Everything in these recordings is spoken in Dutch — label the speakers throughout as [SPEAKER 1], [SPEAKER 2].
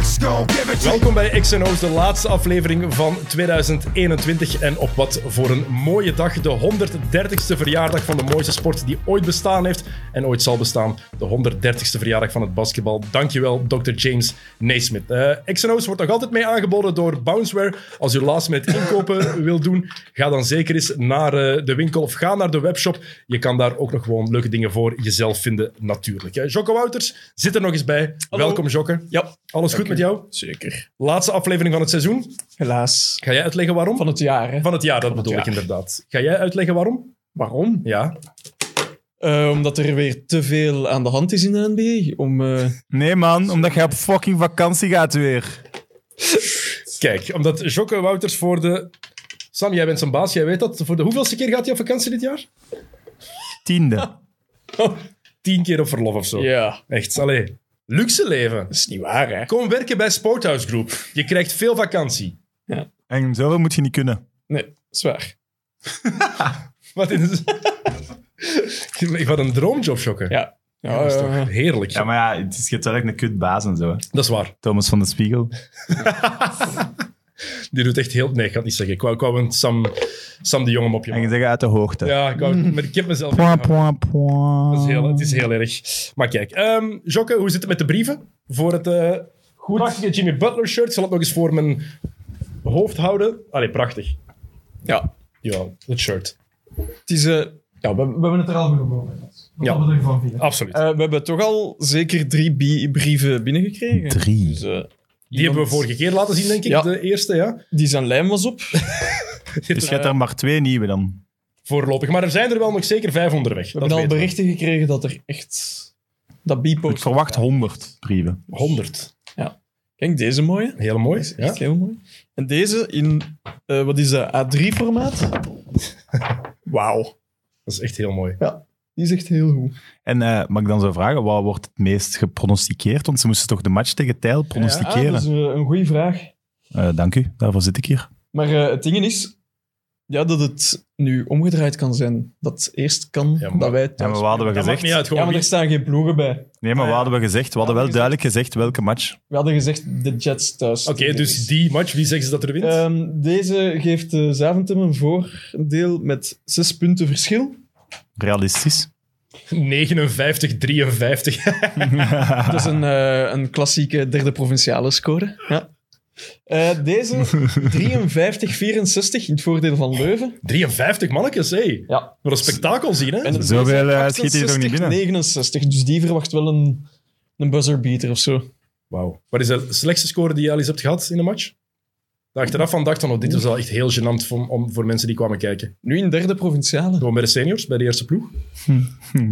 [SPEAKER 1] X go give it to you.
[SPEAKER 2] Welkom bij XNO's, de laatste aflevering van 2021. En op wat voor een mooie dag, de 130ste verjaardag van de mooiste sport die ooit bestaan heeft en ooit zal bestaan. De 130ste verjaardag van het basketbal. Dankjewel, Dr. James Naismith. Eh XNO's wordt nog altijd mee aangeboden door Bounceware. Als u laatst met inkopen wil doen, ga dan zeker eens naar eh, de winkel of ga naar de webshop. Je kan daar ook nog gewoon leuke dingen voor jezelf vinden, natuurlijk. Eh, Jocke Wouters zit er nog eens bij. Welkom, Jocke.
[SPEAKER 3] Ja,
[SPEAKER 2] Alles goed met jou?
[SPEAKER 3] zeker.
[SPEAKER 2] Laatste aflevering van het seizoen.
[SPEAKER 3] Helaas.
[SPEAKER 2] Ga jij uitleggen waarom?
[SPEAKER 3] Van het jaar, hè?
[SPEAKER 2] Van het jaar, dat bedoel ik
[SPEAKER 3] het jaar.
[SPEAKER 2] inderdaad. Ga jij uitleggen waarom?
[SPEAKER 3] Waarom?
[SPEAKER 2] Ja.
[SPEAKER 3] Eh, omdat er weer te veel aan de hand is in de NBA. Om, eh,
[SPEAKER 4] Nee, man, omdat jij op fucking vakantie gaat weer.
[SPEAKER 2] Kijk, omdat Jocke Wouters voor de... Sam, jij bent zijn baas, jij weet dat. Voor de hoeveelste keer gaat hij op vakantie dit jaar?
[SPEAKER 4] Tiende.
[SPEAKER 2] Tien keer op verlof of zo.
[SPEAKER 3] ja, dat
[SPEAKER 2] Echt, allee. Luxe leven.
[SPEAKER 3] is niet waar, hè?
[SPEAKER 2] Kom werken bij Sporthouse Group. Je krijgt veel vakantie.
[SPEAKER 4] En zoveel moet je niet kunnen.
[SPEAKER 3] Nee, dat is waar.
[SPEAKER 2] Wat, is... Wat een droomjob, Jocke.
[SPEAKER 3] Ja. Ja, eh,
[SPEAKER 2] Dat is
[SPEAKER 3] ja,
[SPEAKER 2] toch
[SPEAKER 3] ja.
[SPEAKER 2] heerlijk.
[SPEAKER 5] Ja, maar ja, het is, je hebt wel echt een kut baas en zo. hè.
[SPEAKER 2] Dat is waar.
[SPEAKER 4] Thomas van de Spiegel.
[SPEAKER 2] Die doet echt heel... Nee, ik ga het niet zeggen. Ik wou, ik wou een Sam, Sam de Jong op je
[SPEAKER 4] En je zegt uit de hoogte.
[SPEAKER 2] Ja, ik, wou, maar ik heb mezelf...
[SPEAKER 4] Point, point, point.
[SPEAKER 2] Dat is heel, het is heel erg. Maar kijk, ehm Jocke, hoe zit het met de brieven? Voor het eh prachtige Jimmy Butler shirt. Zal het nog eens voor mijn hoofd houden? Allee, prachtig.
[SPEAKER 3] Ja.
[SPEAKER 2] Ja, het shirt.
[SPEAKER 3] Het is, eh, ja we, we hebben het er al over gehad.
[SPEAKER 2] Ja.
[SPEAKER 3] Wat we ervan vinden.
[SPEAKER 2] Absoluut.
[SPEAKER 3] Eh, we hebben toch al zeker drie bi- brieven binnengekregen.
[SPEAKER 4] Drie.
[SPEAKER 3] Dus, eh,
[SPEAKER 2] die hebben we vorige keer laten zien, denk ik.
[SPEAKER 3] Ja.
[SPEAKER 2] De eerste, ja.
[SPEAKER 3] die zijn lijm was op. We
[SPEAKER 4] Dus je hebt er maar twee nieuwe dan.
[SPEAKER 2] Voorlopig. Maar er zijn er wel nog zeker vijf onderweg. We
[SPEAKER 3] hebben al berichten gekregen dat er echt... Dat
[SPEAKER 4] Ik
[SPEAKER 3] bipost...
[SPEAKER 4] verwacht 100 brieven.
[SPEAKER 2] 100.
[SPEAKER 3] Kijk, deze mooie.
[SPEAKER 2] Heel mooi. Ja.
[SPEAKER 3] Echt heel mooi. En deze in, eh, wat is dat, A3-formaat? Wauw.
[SPEAKER 2] Dat is echt heel mooi.
[SPEAKER 3] Die is echt heel goed.
[SPEAKER 4] En eh, mag ik dan zo vragen, wat wordt het meest gepronosticeerd? Want ze moesten toch de match tegen Tijl pronosticeren?
[SPEAKER 3] Ja, dat is eh, een goede vraag.
[SPEAKER 4] Eh, dank u, daarvoor zit ik hier.
[SPEAKER 3] Maar eh, het ding is ja, dat het nu omgedraaid kan zijn. Dat eerst kan
[SPEAKER 2] Ja, maar-
[SPEAKER 3] dat wij
[SPEAKER 4] Ja,
[SPEAKER 3] thuis...
[SPEAKER 4] maar wat hadden we
[SPEAKER 2] Dat maakt
[SPEAKER 4] gezegd?
[SPEAKER 2] niet uit.
[SPEAKER 3] Ja,
[SPEAKER 2] Gewoon
[SPEAKER 3] maar er
[SPEAKER 2] wie-
[SPEAKER 3] staan geen ploegen bij.
[SPEAKER 4] Nee, maar wat hadden we gezegd? We hadden wel
[SPEAKER 3] Ja,
[SPEAKER 4] duidelijk gezegd welke match.
[SPEAKER 3] We hadden gezegd de Jets thuis.
[SPEAKER 2] Oké, dus die match, wie zegt ze dat er wint?
[SPEAKER 3] Ehm, deze geeft eh Zaventem een voordeel met zes punten verschil.
[SPEAKER 4] Realistisch.
[SPEAKER 2] 59, 53.
[SPEAKER 3] Dat is een, eh, een klassieke derde provinciale score. Ja. Eh, deze 53-64 in het voordeel van Leuven.
[SPEAKER 2] 53 mannetjes, hé.
[SPEAKER 3] Ja.
[SPEAKER 2] Wat een spektakel zien, hè?
[SPEAKER 4] Zoveel, eh, schiet hij toch niet binnen?
[SPEAKER 3] 69, dus die verwacht wel een, een buzzerbeater of zo.
[SPEAKER 2] Wauw. Wat is de slechtste score die je al eens hebt gehad in een match? De achteraf van dacht van, oh, dit was wel echt heel gênant voor, om, voor mensen die kwamen kijken.
[SPEAKER 3] Nu in derde provinciale.
[SPEAKER 2] Gewoon bij de seniors, bij de eerste ploeg.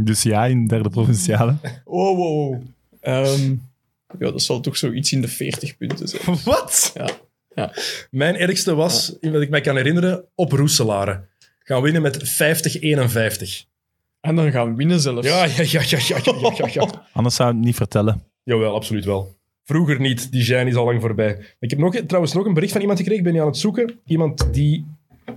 [SPEAKER 4] Dus ja, in derde provinciale.
[SPEAKER 3] Oh, wow. wow. Ehm, ja, dat zal toch zoiets in de 40 punten zijn.
[SPEAKER 2] Wat?
[SPEAKER 3] Ja. Ja.
[SPEAKER 2] Mijn ergste was, wat ik mij kan herinneren, op Roeselare. Gaan winnen met 50-51.
[SPEAKER 3] En dan gaan we winnen zelfs. Oh,
[SPEAKER 2] Ja, ja, ja, ja, ja, ja, ja, ja.
[SPEAKER 4] Anders zou ik het niet vertellen.
[SPEAKER 2] Jawel, absoluut wel. Vroeger niet, die zijn is al lang voorbij. Ik heb nog, trouwens nog een bericht van iemand gekregen, ik ben je aan het zoeken. Iemand die
[SPEAKER 4] Een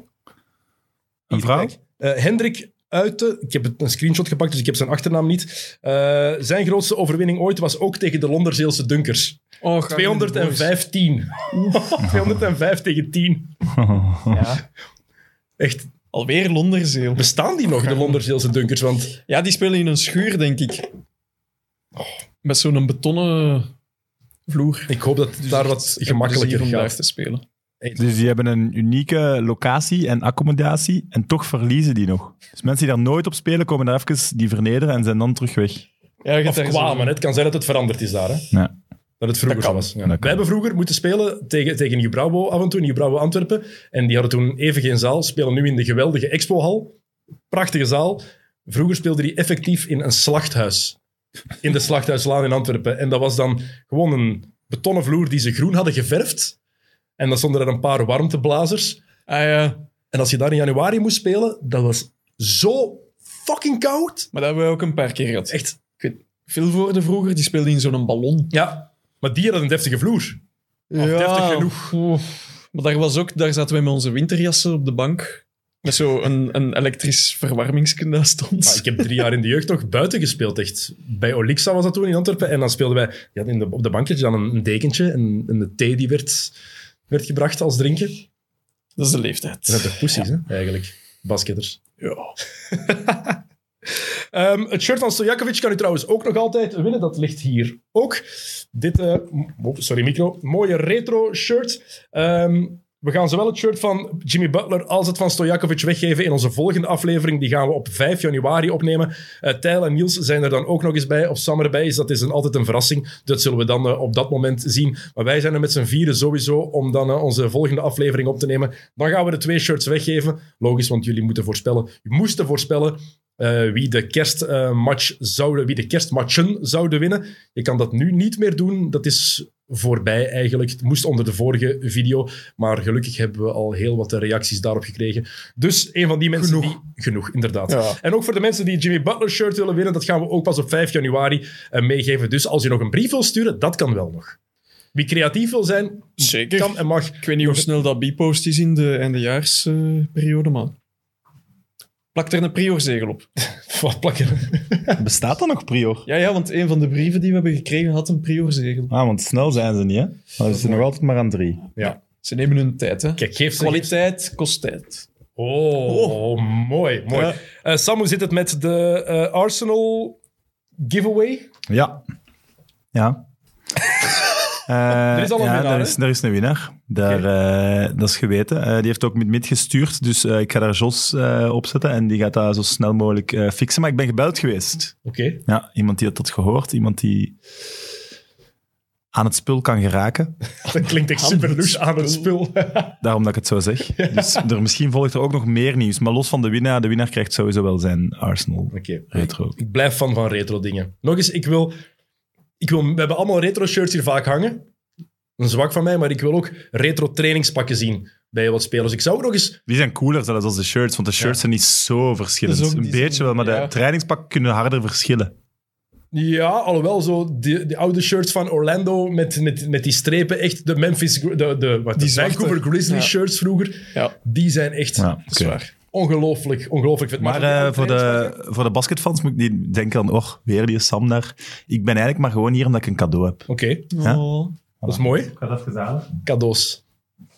[SPEAKER 2] Hier,
[SPEAKER 4] vrouw?
[SPEAKER 2] kijk. Eh, Hendrik Uiten, ik heb het- een screenshot gepakt, dus ik heb zijn achternaam niet. Eh, zijn grootste overwinning ooit was ook tegen de Londerzeelse Dunkers.
[SPEAKER 3] Oh, gaan we winnen, boys.
[SPEAKER 2] 215. 205 tegen 10. Echt,
[SPEAKER 3] Alweer Londerzeel.
[SPEAKER 2] bestaan die nog, de Londerzeelse Dunkers? Want
[SPEAKER 3] Ja, die spelen in een schuur, denk ik. Oh, Met zo'n betonnen vloer.
[SPEAKER 2] ik hoop dat het daar
[SPEAKER 3] Dus
[SPEAKER 2] wat gemakkelijker
[SPEAKER 3] om live
[SPEAKER 2] gaat.
[SPEAKER 3] te spelen.
[SPEAKER 4] Dus die hebben een unieke locatie en accommodatie en toch verliezen die nog. Dus mensen die daar nooit op spelen, komen daar even die vernederen en zijn dan terug weg.
[SPEAKER 3] Ja, je hebt
[SPEAKER 2] Of
[SPEAKER 3] daar zo-
[SPEAKER 2] kwamen, hè. het kan zijn dat het veranderd is daar. Hè?
[SPEAKER 4] Ja.
[SPEAKER 2] Dat het vroeger
[SPEAKER 4] Dat kan.
[SPEAKER 2] zo was. Ja.
[SPEAKER 4] Dat kan.
[SPEAKER 2] Wij hebben vroeger moeten spelen tegen, tegen Nieuw Brouwo af en toe, Nieuw Brouwo Antwerpen. En die hadden toen even geen zaal, spelen nu in de geweldige Expohal. Prachtige zaal. Vroeger speelde die effectief in een slachthuis. In de slachthuislaan in Antwerpen. En dat was dan gewoon een betonnen vloer die ze groen hadden geverfd. En dan stonden er een paar warmteblazers.
[SPEAKER 3] Ah ja.
[SPEAKER 2] En als je daar in januari moest spelen, dat was zo fucking koud.
[SPEAKER 3] Maar dat hebben we ook een paar keer gehad.
[SPEAKER 2] Echt.
[SPEAKER 3] Ik weet, veel voorde vroeger, die speelde in zo'n ballon.
[SPEAKER 2] Ja. Maar die hadden een deftige vloer. Of deftig genoeg.
[SPEAKER 3] oef. Maar daar, was ook, daar zaten wij met onze winterjassen op de bank. Met zo een, een elektrisch verwarmingskunde naast ons.
[SPEAKER 2] Maar ik heb drie jaar in de jeugd nog buiten gespeeld, echt. Bij Olixa was dat toen in Antwerpen. En dan speelden wij die hadden in de, op de bankje dus dan een, een dekentje en, en de thee die werd, werd gebracht als drinken.
[SPEAKER 3] Dat is de leeftijd.
[SPEAKER 2] Dat zijn toch poesies, hè, eigenlijk. Basketters.
[SPEAKER 3] Ja.
[SPEAKER 2] Ehm, het shirt van Stojakovic kan u trouwens ook nog altijd winnen. Dat ligt hier ook. Dit, eh, m- oh, sorry micro, mooie retro shirt. Ehm, we gaan zowel het shirt van Jimmy Butler als het van Stojakovic weggeven in onze volgende aflevering. Die gaan we op 5 januari opnemen. Eh Tijl en Niels zijn er dan ook nog eens bij. Of Sam erbij is, Dus dat is een, altijd een verrassing. Dat zullen we dan eh, op dat moment zien. Maar wij zijn er met z'n vieren sowieso om dan eh, onze volgende aflevering op te nemen. Dan gaan we de twee shirts weggeven. Logisch, want jullie moeten voorspellen. Je moesten voorspellen eh, wie, de kerstmatch zouden, wie de kerstmatchen zouden winnen. Je kan dat nu niet meer doen. Dat is voorbij eigenlijk. Het moest onder de vorige video. Maar gelukkig hebben we al heel wat eh, reacties daarop gekregen. Dus een van die mensen genoeg. die... Genoeg, inderdaad.
[SPEAKER 3] Ja.
[SPEAKER 2] En ook voor de mensen die Jimmy Butler shirt willen winnen, dat gaan we ook pas op 5 januari eh, meegeven. Dus als je nog een brief wil sturen, dat kan wel nog. Wie creatief wil zijn,
[SPEAKER 3] Zeker.
[SPEAKER 2] kan en mag.
[SPEAKER 3] Ik weet niet hoe snel dat bipost is in de eindejaarsperiode, man. Plak er een priorzegel op.
[SPEAKER 2] Wat plakken.
[SPEAKER 4] Bestaat dat nog prior?
[SPEAKER 3] Ja, ja, want een van de brieven die we hebben gekregen had een priorzegel.
[SPEAKER 4] Ah, want snel zijn ze niet, hè? Maar ze zijn nog altijd maar aan drie.
[SPEAKER 2] Ja.
[SPEAKER 3] Ze nemen hun tijd, hè.
[SPEAKER 2] Kijk, geef ze
[SPEAKER 3] Kwaliteit kost tijd.
[SPEAKER 2] Oh, mooi, mooi.
[SPEAKER 4] Ja.
[SPEAKER 2] Eh, Sam, hoe zit het met de eh, Arsenal giveaway?
[SPEAKER 4] Ja. Ja. Eh,
[SPEAKER 2] Er is al een
[SPEAKER 4] ja,
[SPEAKER 2] winnaar,
[SPEAKER 4] Er
[SPEAKER 2] hè?
[SPEAKER 4] is, er is een winnaar. Daar, eh, dat is geweten. Eh, die heeft ook met mid gestuurd, dus eh, ik ga daar Jos eh, op zetten en die gaat dat zo snel mogelijk eh, fixen. Maar ik ben gebeld geweest.
[SPEAKER 2] Oké.
[SPEAKER 4] Ja, iemand die had dat gehoord, iemand die aan het spul kan geraken.
[SPEAKER 2] Dat klinkt echt super luxe aan het spul.
[SPEAKER 4] Daarom dat ik het zo zeg. Dus er, misschien volgt er ook nog meer nieuws. Maar los van de winnaar, de winnaar krijgt sowieso wel zijn Arsenal
[SPEAKER 2] Oké.
[SPEAKER 4] retro.
[SPEAKER 2] Ik blijf fan van retro dingen. Nog eens, ik wil, ik wil... We hebben allemaal retro shirts hier vaak hangen. Een zwak van mij, maar ik wil ook retro trainingspakken zien bij wat spelers. Ik zou ook nog eens...
[SPEAKER 4] Die zijn cooler zelfs als de shirts, want de shirts zijn niet zo verschillend.
[SPEAKER 3] Dat is ook-
[SPEAKER 4] een
[SPEAKER 3] die zijn-
[SPEAKER 4] beetje wel, maar
[SPEAKER 3] ja.
[SPEAKER 4] de trainingspak kunnen harder verschillen.
[SPEAKER 2] Ja, alhoewel zo die, die oude shirts van Orlando met, met, met die strepen. Echt de Memphis... Gri- De, de, wat,
[SPEAKER 3] Die
[SPEAKER 2] de
[SPEAKER 3] zwarte.
[SPEAKER 2] Vancouver Grizzly
[SPEAKER 3] Ja.
[SPEAKER 2] shirts vroeger.
[SPEAKER 3] Ja,
[SPEAKER 2] Die zijn echt...
[SPEAKER 4] Ja,
[SPEAKER 2] dat is
[SPEAKER 4] oké.
[SPEAKER 2] waar. Ongelooflijk, ongelooflijk vet.
[SPEAKER 4] Maar eh, voor, de, voor de basketfans moet ik niet denken aan, oh, weer die Sam daar. Ik ben eigenlijk maar gewoon hier omdat ik een cadeau heb.
[SPEAKER 2] Oké,
[SPEAKER 4] Ja.
[SPEAKER 3] Oh.
[SPEAKER 2] dat is mooi.
[SPEAKER 5] Ik had dat gedaan.
[SPEAKER 2] Cadeaus.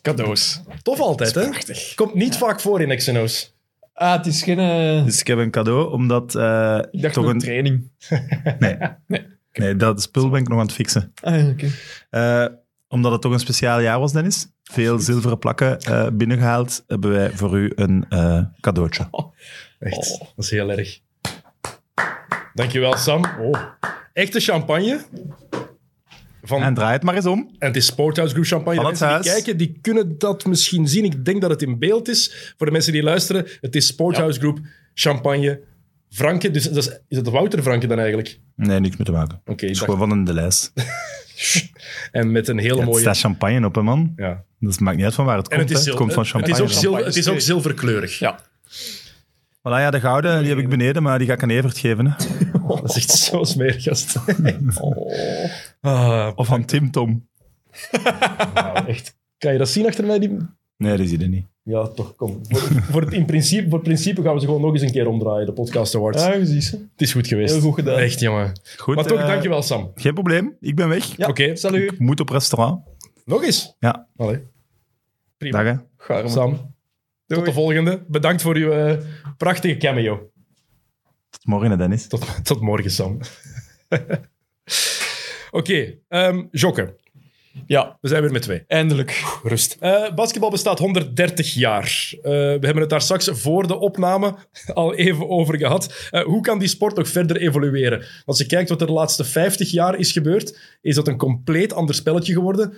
[SPEAKER 3] cadeaus.
[SPEAKER 2] Tof altijd, hè? Komt niet vaak voor in Xenos.
[SPEAKER 3] Ah, het is geen... eh,
[SPEAKER 4] Dus ik heb een cadeau omdat... eh,
[SPEAKER 3] ik dacht
[SPEAKER 4] toch
[SPEAKER 3] een
[SPEAKER 4] een,
[SPEAKER 3] training.
[SPEAKER 4] nee. nee. dat spul ben ik nog aan het fixen.
[SPEAKER 3] Ah, ja, oké.
[SPEAKER 4] Eh, omdat het toch een speciaal jaar was, Dennis. Veel zilveren plakken eh, binnengehaald. Hebben wij voor u een eh, cadeautje.
[SPEAKER 2] Echt,
[SPEAKER 3] Oh.
[SPEAKER 2] dat is heel erg. Dankjewel, Sam. Oh. Echte champagne. Van,
[SPEAKER 4] En
[SPEAKER 2] en,
[SPEAKER 4] draai het maar eens om.
[SPEAKER 2] het is Sporthouse Group champagne.
[SPEAKER 4] Van
[SPEAKER 2] de
[SPEAKER 4] het
[SPEAKER 2] mensen die
[SPEAKER 4] huis.
[SPEAKER 2] kijken, die kunnen dat misschien zien. Ik denk dat het in beeld is. Voor de mensen die luisteren, het is Sporthouse Group champagne. Franke, dus dat is, is dat Wouter Franke dan eigenlijk?
[SPEAKER 4] Nee, niks mee te maken.
[SPEAKER 2] Oké,
[SPEAKER 4] Het is
[SPEAKER 2] dag.
[SPEAKER 4] gewoon van een de lijst.
[SPEAKER 2] en met een hele
[SPEAKER 4] Ja, het
[SPEAKER 2] mooie...
[SPEAKER 4] staat champagne op, hè, man.
[SPEAKER 2] Ja.
[SPEAKER 4] Dat maakt niet uit van waar het
[SPEAKER 2] En
[SPEAKER 4] komt.
[SPEAKER 2] het
[SPEAKER 4] hè.
[SPEAKER 2] is,
[SPEAKER 4] Het,
[SPEAKER 2] zil-
[SPEAKER 4] komt van
[SPEAKER 2] het is
[SPEAKER 4] champagne.
[SPEAKER 2] ook, zilver, het is ook zilverkleurig.
[SPEAKER 3] Ja.
[SPEAKER 4] Voilà, ja, de gouden die heb ik beneden, maar die ga ik aan Evert geven. Hè.
[SPEAKER 2] Dat is echt zo smerig, gast.
[SPEAKER 3] Oh.
[SPEAKER 2] Ah,
[SPEAKER 4] Of aan Tim Tom.
[SPEAKER 2] nou, echt. Kan je dat zien achter mij? Die...
[SPEAKER 4] Nee, die zie je niet.
[SPEAKER 2] Ja, toch, kom. Voor, voor het, in principe, voor principe gaan we ze gewoon nog eens een keer omdraaien, de podcast awards.
[SPEAKER 3] Ah, precies.
[SPEAKER 2] Het is goed geweest.
[SPEAKER 3] Heel goed gedaan.
[SPEAKER 2] Echt, jongen.
[SPEAKER 4] Goed,
[SPEAKER 2] Maar toch,
[SPEAKER 4] eh,
[SPEAKER 2] dankjewel, Sam.
[SPEAKER 4] Geen probleem, ik ben weg.
[SPEAKER 3] Ja,
[SPEAKER 2] Oké.
[SPEAKER 3] salut.
[SPEAKER 4] Ik moet op restaurant.
[SPEAKER 2] Nog eens.
[SPEAKER 4] Ja,
[SPEAKER 2] Allee. Prima.
[SPEAKER 4] dag hè.
[SPEAKER 3] Garm.
[SPEAKER 2] Sam, tot de volgende. Bedankt voor uw eh, prachtige cameo.
[SPEAKER 4] Tot morgen, hè, Dennis.
[SPEAKER 2] Tot, tot morgen, Sam. Oké, ehm Jokke.
[SPEAKER 3] Ja,
[SPEAKER 2] We zijn weer met twee.
[SPEAKER 3] eindelijk.
[SPEAKER 2] Rust. Eh, basketbal bestaat 130 jaar. Eh, we hebben het daar straks voor de opname al even over gehad. Eh, hoe kan die sport nog verder evolueren? Want Als je kijkt wat er de laatste 50 jaar is gebeurd, is dat een compleet ander spelletje geworden.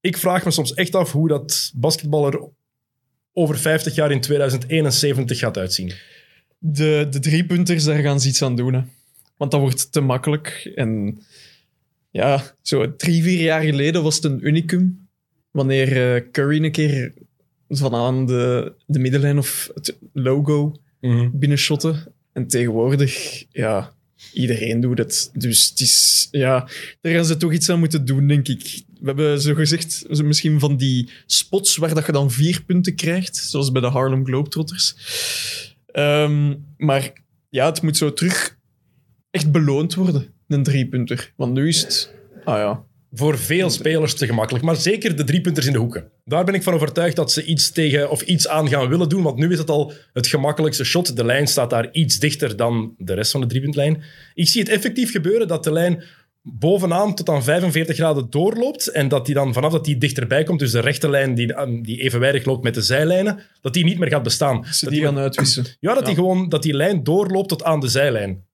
[SPEAKER 2] Ik vraag me soms echt af hoe dat basketbal er over 50 jaar in 2071 gaat uitzien.
[SPEAKER 3] De, de driepunters, daar gaan ze iets aan doen. Hè. Want dat wordt te makkelijk. En ja, zo drie, vier jaar geleden was het een unicum. Wanneer eh, Curry een keer vanaan de, de middenlijn of het logo binnenshotte. En tegenwoordig, ja, iedereen doet het. Dus het is, ja, daar gaan ze toch iets aan moeten doen, denk ik. We hebben zo gezegd, zo misschien van die spots waar dat je dan vier punten krijgt, zoals bij de Harlem Globetrotters. Ehm, maar ja, het moet zo terug echt beloond worden, een driepunter. Want nu is het, ah ja,
[SPEAKER 2] Voor veel spelers te gemakkelijk. Maar zeker de driepunters in de hoeken. Daar ben ik van overtuigd dat ze iets tegen of iets aan gaan willen doen. Want nu is het al het gemakkelijkste shot. De lijn staat daar iets dichter dan de rest van de driepuntlijn. Ik zie het effectief gebeuren dat de lijn bovenaan tot aan 45 graden doorloopt. En dat die dan vanaf dat die dichterbij komt, dus de rechte lijn die, die evenwijdig loopt met de zijlijnen, dat die niet meer gaat bestaan.
[SPEAKER 3] ze
[SPEAKER 2] Dat
[SPEAKER 3] die
[SPEAKER 2] die-
[SPEAKER 3] gaan uitwissen.
[SPEAKER 2] ja, dat die
[SPEAKER 3] Ja.
[SPEAKER 2] gewoon dat die lijn doorloopt tot aan de zijlijn.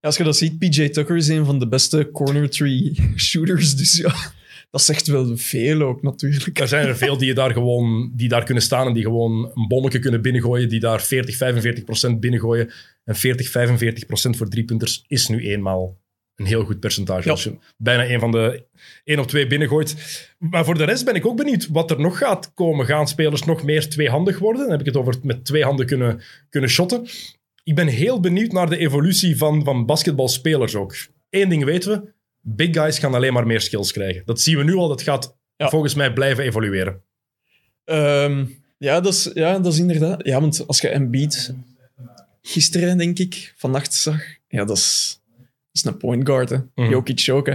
[SPEAKER 3] Als je dat ziet, PJ Tucker is een van de beste corner three shooters. Dus ja, dat zegt wel veel ook natuurlijk.
[SPEAKER 2] Er zijn er veel die, je daar gewoon, die daar kunnen staan en die gewoon een bommetje kunnen binnengooien, die daar 40, 45 procent binnengooien. En 40, 45 procent voor driepunters is nu eenmaal een heel goed percentage.
[SPEAKER 3] Ja.
[SPEAKER 2] Als je bijna een van de één of twee binnengooit. Maar voor de rest ben ik ook benieuwd wat er nog gaat komen. Gaan spelers nog meer tweehandig worden? Dan heb ik het over het met twee handen kunnen, kunnen shotten. Ik ben heel benieuwd naar de evolutie van, van basketbalspelers ook. Eén ding weten we, big guys gaan alleen maar meer skills krijgen. Dat zien we nu al, dat gaat
[SPEAKER 3] Ja.
[SPEAKER 2] volgens mij blijven evolueren.
[SPEAKER 3] Ehm, ja, dat is, ja, dat is inderdaad. Ja, want als je Embiid gisteren, denk ik, vannacht zag, ja, dat is, dat is een point guard, hè.
[SPEAKER 2] Mhm.
[SPEAKER 3] Jokic ook, hè.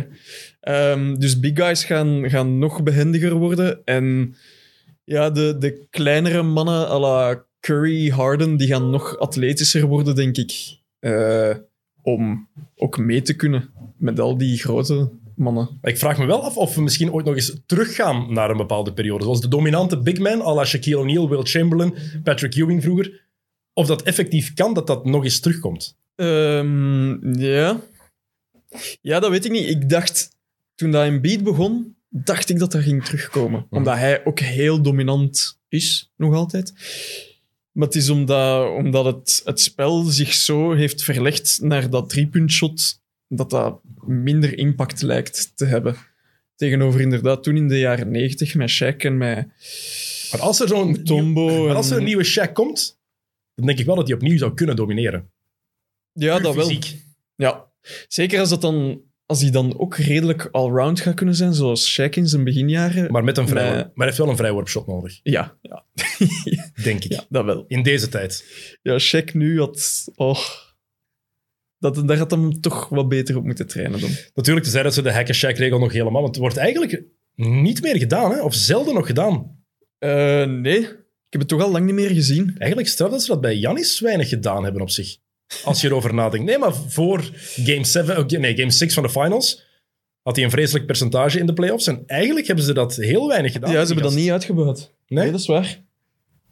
[SPEAKER 3] Ehm, dus big guys gaan, gaan nog behendiger worden. En ja, de, de kleinere mannen à la Curry, Harden, die gaan nog atletischer worden, denk ik. Eh, om ook mee te kunnen met al die grote mannen.
[SPEAKER 2] Maar ik vraag me wel af of we misschien ooit nog eens teruggaan naar een bepaalde periode. Zoals de dominante big man, à la Shaquille O'Neal, Will Chamberlain, Patrick Ewing vroeger. Of dat effectief kan, dat dat nog eens terugkomt.
[SPEAKER 3] Ehm, ja. Ja, dat weet ik niet. Ik dacht, toen dat Embiid begon, dacht ik dat dat ging terugkomen. Omdat hij ook heel dominant is, nog altijd. Maar het is omdat, omdat het, het spel zich zo heeft verlegd naar dat driepuntshot, dat dat minder impact lijkt te hebben. Tegenover inderdaad toen in de jaren negentig met Shaq en met
[SPEAKER 2] Maar als er zo'n
[SPEAKER 3] Tombo.
[SPEAKER 2] maar als er
[SPEAKER 3] en-
[SPEAKER 2] een nieuwe Shaq komt, dan denk ik wel dat hij opnieuw zou kunnen domineren.
[SPEAKER 3] ja,
[SPEAKER 2] Puur
[SPEAKER 3] dat wel.
[SPEAKER 2] fysiek.
[SPEAKER 3] Ja, zeker als, dat dan, als die dan ook redelijk allround gaat kunnen zijn, zoals Shaq in zijn beginjaren.
[SPEAKER 2] Maar, met een vrij,
[SPEAKER 3] Nee.
[SPEAKER 2] maar hij heeft wel een vrijworpshot nodig,
[SPEAKER 3] ja, ja,
[SPEAKER 2] denk ik.
[SPEAKER 3] ja, dat wel.
[SPEAKER 2] In deze tijd.
[SPEAKER 3] Ja, Shaq nu had... Oh, dat, daar had hem toch wat beter op moeten trainen dan.
[SPEAKER 2] Natuurlijk, te zeggen dat ze de hack shack regel nog helemaal... Want het wordt eigenlijk niet meer gedaan, hè? of zelden nog gedaan.
[SPEAKER 3] Eh, nee, ik heb het toch al lang niet meer gezien.
[SPEAKER 2] Eigenlijk straf dat ze dat bij Janis weinig gedaan hebben op zich. Als je erover nadenkt. Nee, maar voor game 7, oh, nee, game 6 van de finals had hij een vreselijk percentage in de playoffs. En eigenlijk hebben ze dat heel weinig gedaan.
[SPEAKER 3] ja,
[SPEAKER 2] Die
[SPEAKER 3] ze hebben dat
[SPEAKER 2] gast.
[SPEAKER 3] niet uitgebuit.
[SPEAKER 2] Nee?
[SPEAKER 3] dat is waar.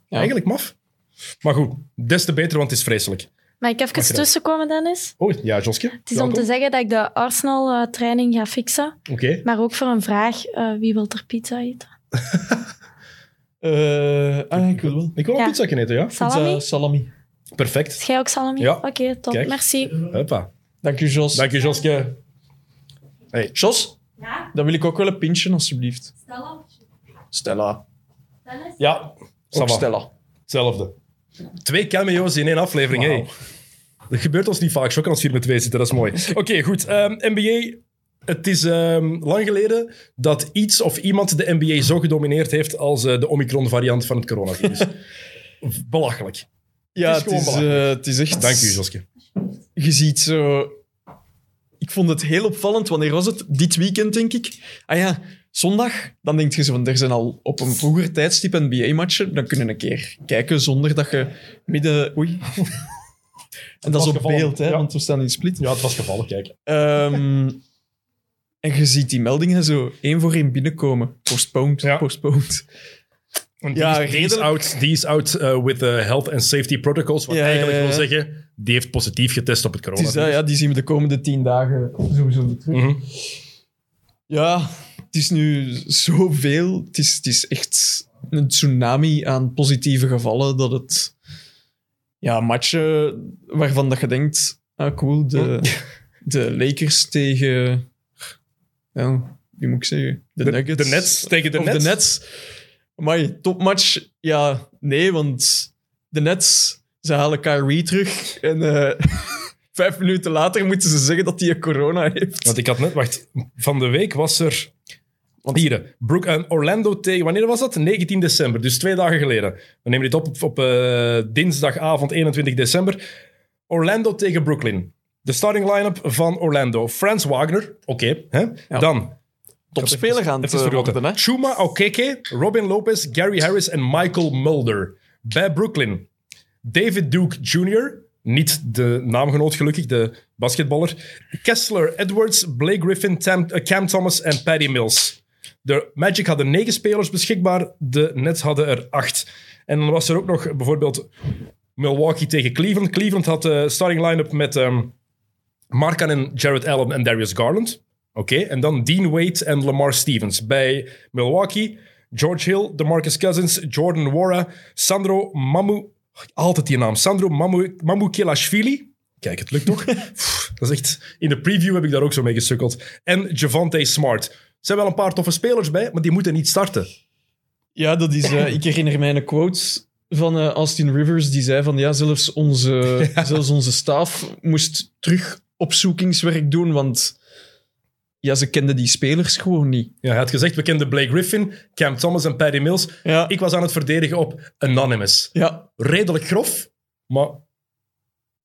[SPEAKER 3] Ja.
[SPEAKER 2] Eigenlijk maf. Maar goed, des te beter, want het is vreselijk.
[SPEAKER 6] Mag ik
[SPEAKER 2] Mag je
[SPEAKER 6] even
[SPEAKER 2] dat?
[SPEAKER 6] tussenkomen, Dennis?
[SPEAKER 2] Oh, ja, Joske.
[SPEAKER 6] Het is om te
[SPEAKER 2] Welkom.
[SPEAKER 6] zeggen dat ik de Arsenal-training ga fixen.
[SPEAKER 2] Oké.
[SPEAKER 6] Maar ook voor een vraag, eh, wie wil er pizza eten?
[SPEAKER 3] Eh, ah, ik wil wel.
[SPEAKER 2] Ik wil een
[SPEAKER 6] Ja.
[SPEAKER 2] pizza eten, ja.
[SPEAKER 6] Salami?
[SPEAKER 3] Pizza salami.
[SPEAKER 2] Perfect.
[SPEAKER 6] Jij ook salami?
[SPEAKER 2] Ja.
[SPEAKER 6] Oké, top.
[SPEAKER 2] Kijk.
[SPEAKER 6] Merci.
[SPEAKER 2] Huppa.
[SPEAKER 3] Dank u, Jos.
[SPEAKER 2] Dank je, Joske.
[SPEAKER 3] Jos? Dan wil ik ook wel een pintje, alsjeblieft. Stella.
[SPEAKER 2] Ja,
[SPEAKER 3] Ook
[SPEAKER 2] ça va.
[SPEAKER 3] Stella.
[SPEAKER 2] Hetzelfde. Twee cameo's in één aflevering,
[SPEAKER 3] Wauw.
[SPEAKER 2] hey. Dat gebeurt ons niet vaak, Shock als we hier met twee zitten, dat is mooi. Oké, goed. ehm, NBA, het is ehm, lang geleden dat iets of iemand de NBA zo gedomineerd heeft als eh, de Omicron-variant van het coronavirus. Belachelijk.
[SPEAKER 3] Ja,
[SPEAKER 2] Het is
[SPEAKER 3] het
[SPEAKER 2] gewoon
[SPEAKER 3] is,
[SPEAKER 2] belangrijk.
[SPEAKER 3] eh, het is echt...
[SPEAKER 2] Dank u, Joske.
[SPEAKER 3] Je ziet zo... Ik vond het heel opvallend. Wanneer was het? Dit weekend, denk ik. Ah ja, zondag. Dan denk je zo van, er zijn al op een vroeger tijdstip NBA-matchen. Dan kunnen we een keer kijken zonder dat je midden... Oei. en dat
[SPEAKER 2] was
[SPEAKER 3] is op
[SPEAKER 2] gevallen,
[SPEAKER 3] beeld, hè,
[SPEAKER 2] ja.
[SPEAKER 3] want we staan in Split.
[SPEAKER 2] Ja, het was gevallen, kijk.
[SPEAKER 3] Ehm, en je ziet die meldingen zo één voor één binnenkomen. Postponed,
[SPEAKER 2] Ja.
[SPEAKER 3] postponed.
[SPEAKER 2] Want
[SPEAKER 3] Ja,
[SPEAKER 2] die, is, die is
[SPEAKER 3] redelijk.
[SPEAKER 2] out, die is out eh, with the health and safety protocols, wat
[SPEAKER 3] Ja, ja,
[SPEAKER 2] eigenlijk
[SPEAKER 3] ja.
[SPEAKER 2] wil zeggen, die heeft positief getest op het
[SPEAKER 3] Het is, eh,
[SPEAKER 2] coronavirus.
[SPEAKER 3] dat, ja, die zien we de komende tien dagen sowieso terug.
[SPEAKER 2] Mhm.
[SPEAKER 3] Ja, het is nu zoveel. Het is, het is echt een tsunami aan positieve gevallen dat het... Ja, matchen waarvan dat je denkt... Ah, cool, de, de Lakers tegen... Ja, wie moet ik zeggen? De, Nuggets.
[SPEAKER 2] de Nets tegen de
[SPEAKER 3] Of
[SPEAKER 2] Nets.
[SPEAKER 3] de Nets. Maar topmatch? Ja, nee, want de Nets Ze halen Kyrie terug en eh, vijf minuten later moeten ze zeggen dat hij corona heeft.
[SPEAKER 2] Want ik had net, wacht, van de week was er. Hier, hè, Brook, en Orlando tegen, wanneer was dat? 19 december, dus twee dagen geleden. We nemen dit op op, op, eh, dinsdagavond 21 december. Orlando tegen Brooklyn. De starting line-up van Orlando. Frans Wagner, oké. hè?
[SPEAKER 3] Ja.
[SPEAKER 2] Dan
[SPEAKER 3] Topspeler gaan
[SPEAKER 2] het
[SPEAKER 3] het
[SPEAKER 2] is
[SPEAKER 3] worden, hè?
[SPEAKER 2] vergoten. Chuma Okeke, Robin Lopez, Gary Harris en Michael Mulder. Bij Brooklyn. David Duke Jr., niet de naamgenoot gelukkig, de basketballer. Kessler Edwards, Blake Griffin, Tam- eh, Cam Thomas en Patty Mills. De Magic hadden negen spelers beschikbaar, de Nets hadden er acht. En dan was er ook nog bijvoorbeeld Milwaukee tegen Cleveland. Cleveland had de starting line-up met ehm Markan en Jared Allen en Darius Garland. Oké, en dan Dean Wade en Lamar Stevens. Bij Milwaukee, George Hill, DeMarcus Cousins, Jordan Wara, Sandro Mamu... Altijd die naam. Sandro Mamu, Mamu Kelashvili. Kijk, het lukt toch? Pff, dat is echt... In de preview heb ik daar ook zo mee gesukkeld. En Javante Smart. Er zijn wel een paar toffe spelers bij, maar die moeten niet starten.
[SPEAKER 3] Ja, dat is. eh, ik herinner mij een quote van eh, Austin Rivers die zei van ja, zelfs onze, zelfs onze staf moest terug opzoekingswerk doen, want ja, ze kenden die spelers gewoon niet.
[SPEAKER 2] Ja, hij had gezegd, we kenden Blake Griffin, Cam Thomas en Patty Mills.
[SPEAKER 3] Ja,
[SPEAKER 2] Ik was aan het verdedigen op Anonymous.
[SPEAKER 3] ja.
[SPEAKER 2] Redelijk grof, maar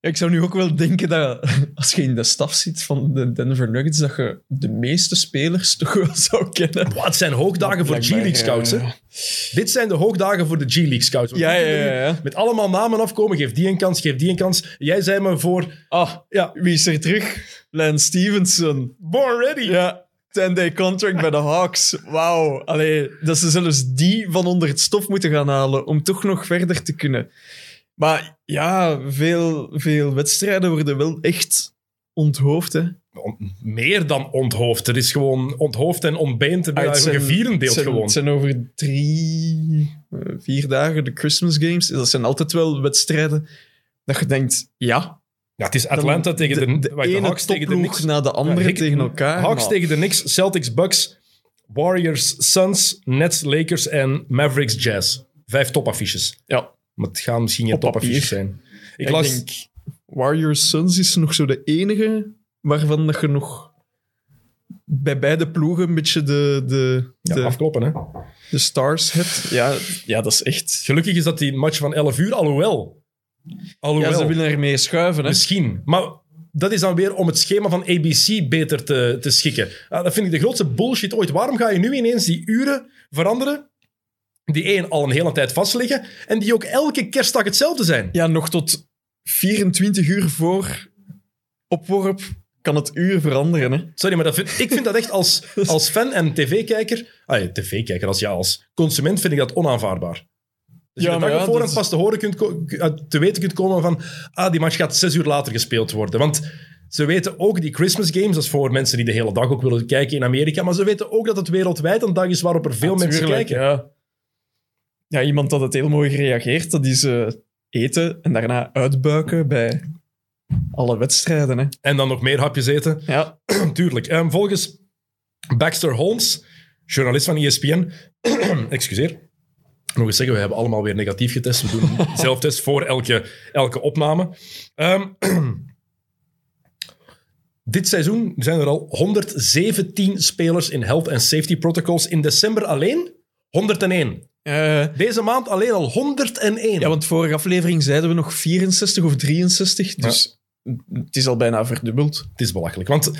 [SPEAKER 3] ik zou nu ook wel denken dat als je in de staf zit van de Denver Nuggets, dat je de meeste spelers toch wel zou kennen.
[SPEAKER 2] Wat zijn hoogdagen voor
[SPEAKER 3] Blijkbaar,
[SPEAKER 2] G-League scouts, hè?
[SPEAKER 3] ja.
[SPEAKER 2] Dit zijn de hoogdagen voor de G-League scouts. Want
[SPEAKER 3] Ja,
[SPEAKER 2] die
[SPEAKER 3] ja,
[SPEAKER 2] kunnen
[SPEAKER 3] ja,
[SPEAKER 2] nu
[SPEAKER 3] ja.
[SPEAKER 2] Met allemaal namen afkomen, geef die een kans, geef die een kans. Jij zei me voor...
[SPEAKER 3] Ah,
[SPEAKER 2] Ja,
[SPEAKER 3] wie is er terug? Lance Stevenson.
[SPEAKER 2] born ready.
[SPEAKER 3] Ja, 10-day contract bij de Hawks. Wauw. Allee, dat ze zelfs die van onder het stof moeten gaan halen om toch nog verder te kunnen. Maar ja, veel, veel wedstrijden worden wel echt onthoofd. Hè.
[SPEAKER 2] On- Meer dan onthoofd. Er is gewoon onthoofd en ontbeend. Er
[SPEAKER 3] Ah,
[SPEAKER 2] is
[SPEAKER 3] zijn-
[SPEAKER 2] gevierendeeld
[SPEAKER 3] zijn-
[SPEAKER 2] gewoon.
[SPEAKER 3] Het zijn over drie, eh, vier dagen de Christmas Games. Dat zijn altijd wel wedstrijden dat je denkt, ja.
[SPEAKER 2] ja, het is Atlanta tegen de,
[SPEAKER 3] de,
[SPEAKER 2] wacht, de
[SPEAKER 3] ene
[SPEAKER 2] Hawks tegen de
[SPEAKER 3] topploeg
[SPEAKER 2] Knicks.
[SPEAKER 3] na de andere
[SPEAKER 2] Ja, Hick-
[SPEAKER 3] tegen elkaar.
[SPEAKER 2] Hawks
[SPEAKER 3] maar-
[SPEAKER 2] tegen de Knicks, Celtics, Bucks, Warriors, Suns, Nets, Lakers en Mavericks, Jazz. Vijf topaffiches.
[SPEAKER 3] Ja,
[SPEAKER 2] Maar het gaan misschien geen
[SPEAKER 3] Op papier.
[SPEAKER 2] topaffiches zijn. Ik
[SPEAKER 3] Ik
[SPEAKER 2] las...
[SPEAKER 3] denk, Warriors Suns is nog zo de enige waarvan dat je nog bij beide ploegen een beetje de, de,
[SPEAKER 2] Ja,
[SPEAKER 3] de,
[SPEAKER 2] afkloppen, hè.
[SPEAKER 3] de stars hebt. Ja, ja, dat is echt...
[SPEAKER 2] Gelukkig is dat die match van 11 uur, alhoewel. Alhoewel,
[SPEAKER 3] Ja, ze willen ermee schuiven, hè.
[SPEAKER 2] misschien. Maar dat is dan weer om het schema van ABC beter te, te schikken. Ah, dat vind ik de grootste bullshit ooit. Waarom ga je nu ineens die uren veranderen, die één al een hele tijd vastliggen, en die ook elke kerstdag hetzelfde zijn?
[SPEAKER 3] Ja, nog tot 24 uur voor opworp kan het uur veranderen, hè. Dus
[SPEAKER 2] Sorry, maar dat vind- ik vind dat echt als, als fan en tv-kijker... Ah ja, tv-kijker, als, ja, als consument vind ik dat onaanvaarbaar. Dus
[SPEAKER 3] Ja,
[SPEAKER 2] je de
[SPEAKER 3] maar
[SPEAKER 2] dag
[SPEAKER 3] ja,
[SPEAKER 2] ervoor
[SPEAKER 3] dat
[SPEAKER 2] en
[SPEAKER 3] is-
[SPEAKER 2] pas te, horen kunt ko- te weten kunt komen van... Ah, die match gaat zes uur later gespeeld worden. Want ze weten ook die Christmas games, dat is voor mensen die de hele dag ook willen kijken in Amerika, maar ze weten ook dat het wereldwijd een dag is waarop er veel mensen
[SPEAKER 3] Tuurlijk,
[SPEAKER 2] kijken.
[SPEAKER 3] Ja. ja, iemand dat het heel mooi gereageerd, dat is eh, eten en daarna uitbuiken bij alle wedstrijden, hè.
[SPEAKER 2] En dan nog meer hapjes eten.
[SPEAKER 3] Ja.
[SPEAKER 2] Tuurlijk. En volgens Baxter Holmes, journalist van E ESPN, excuseer. Nog eens zeggen, we hebben allemaal weer negatief getest. We doen een zelftest voor elke, elke opname. Ehm, dit seizoen zijn er al 117 spelers in health and safety protocols. In december alleen 101.
[SPEAKER 3] Eh,
[SPEAKER 2] Deze maand alleen al 101.
[SPEAKER 3] Ja, want vorige aflevering zeiden we nog 64 of 63, dus het is al bijna verdubbeld.
[SPEAKER 2] Het is belachelijk. Want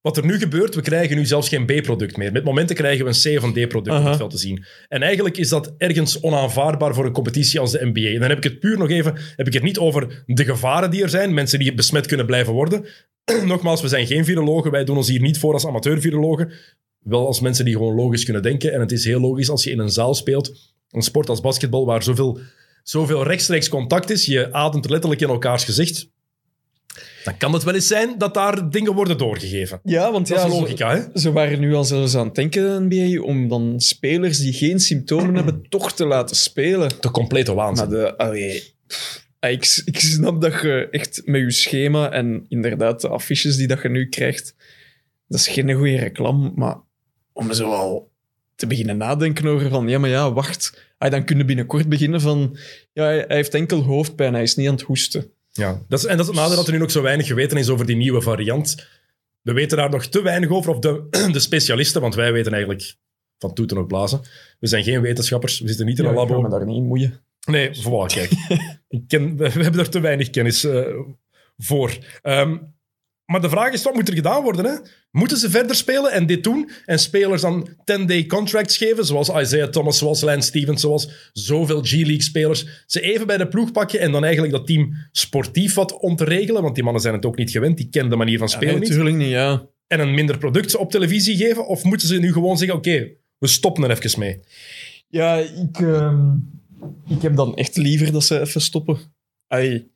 [SPEAKER 2] wat er nu gebeurt, we krijgen nu zelfs geen B-product meer. Met momenten krijgen we een C- of een D-product op
[SPEAKER 3] Aha.
[SPEAKER 2] het veld te zien. En eigenlijk is dat ergens onaanvaardbaar voor een competitie als de NBA. En dan heb ik het puur nog even, heb ik het niet over de gevaren die er zijn, mensen die besmet kunnen blijven worden. Nogmaals, we zijn geen virologen, wij doen ons hier niet voor als amateur-virologen. Wel als mensen die gewoon logisch kunnen denken. En het is heel logisch als je in een zaal speelt, een sport als basketbal, waar zoveel, zoveel rechtstreeks contact is, je ademt letterlijk in elkaars gezicht dan kan het wel eens zijn dat daar dingen worden doorgegeven.
[SPEAKER 3] Ja, want
[SPEAKER 2] Dat is logica, hè?
[SPEAKER 3] Ze, waren nu al zelfs aan het denken, NBA, om dan spelers die geen symptomen hebben toch te laten spelen.
[SPEAKER 2] De complete
[SPEAKER 3] Maar
[SPEAKER 2] waanzin.
[SPEAKER 3] de, allee, pff, ah, ik, ik snap dat je echt met je schema en inderdaad de affiches die dat je nu krijgt, dat is geen goede reclame, maar om zo al te beginnen nadenken over van, ja, maar ja, wacht. Ah, dan kunnen binnenkort beginnen van, ja, hij, hij heeft enkel hoofdpijn, hij is niet aan het hoesten.
[SPEAKER 2] Ja, dat is, en dat is het nadeel dat er nu nog zo weinig geweten is over die nieuwe variant. We weten daar nog te weinig over, of de, de specialisten, want wij weten eigenlijk van toeten op blazen. We zijn geen wetenschappers, we zitten niet in een
[SPEAKER 3] Ja, ik ga
[SPEAKER 2] labo.
[SPEAKER 3] me daar niet in moeien.
[SPEAKER 2] Nee, voilà, kijk. Ik ken, we, we hebben er te weinig kennis eh, voor. Ehm, maar de vraag is, wat moet er gedaan worden? Hè? Moeten ze verder spelen en dit doen? En spelers dan 10-day contracts geven, zoals Isaiah Thomas, zoals Lance Stevens, zoals zoveel G-League-spelers. Ze even bij de ploeg pakken en dan eigenlijk dat team sportief wat ontregelen, want die mannen zijn het ook niet gewend, die kennen de manier van
[SPEAKER 3] Ja,
[SPEAKER 2] spelen
[SPEAKER 3] nee,
[SPEAKER 2] niet.
[SPEAKER 3] natuurlijk niet, ja.
[SPEAKER 2] En een minder product op televisie geven? Of moeten ze nu gewoon zeggen, oké, we stoppen er even mee?
[SPEAKER 3] Ja, ik, ehm, ik heb dan echt liever dat ze even stoppen. Ai,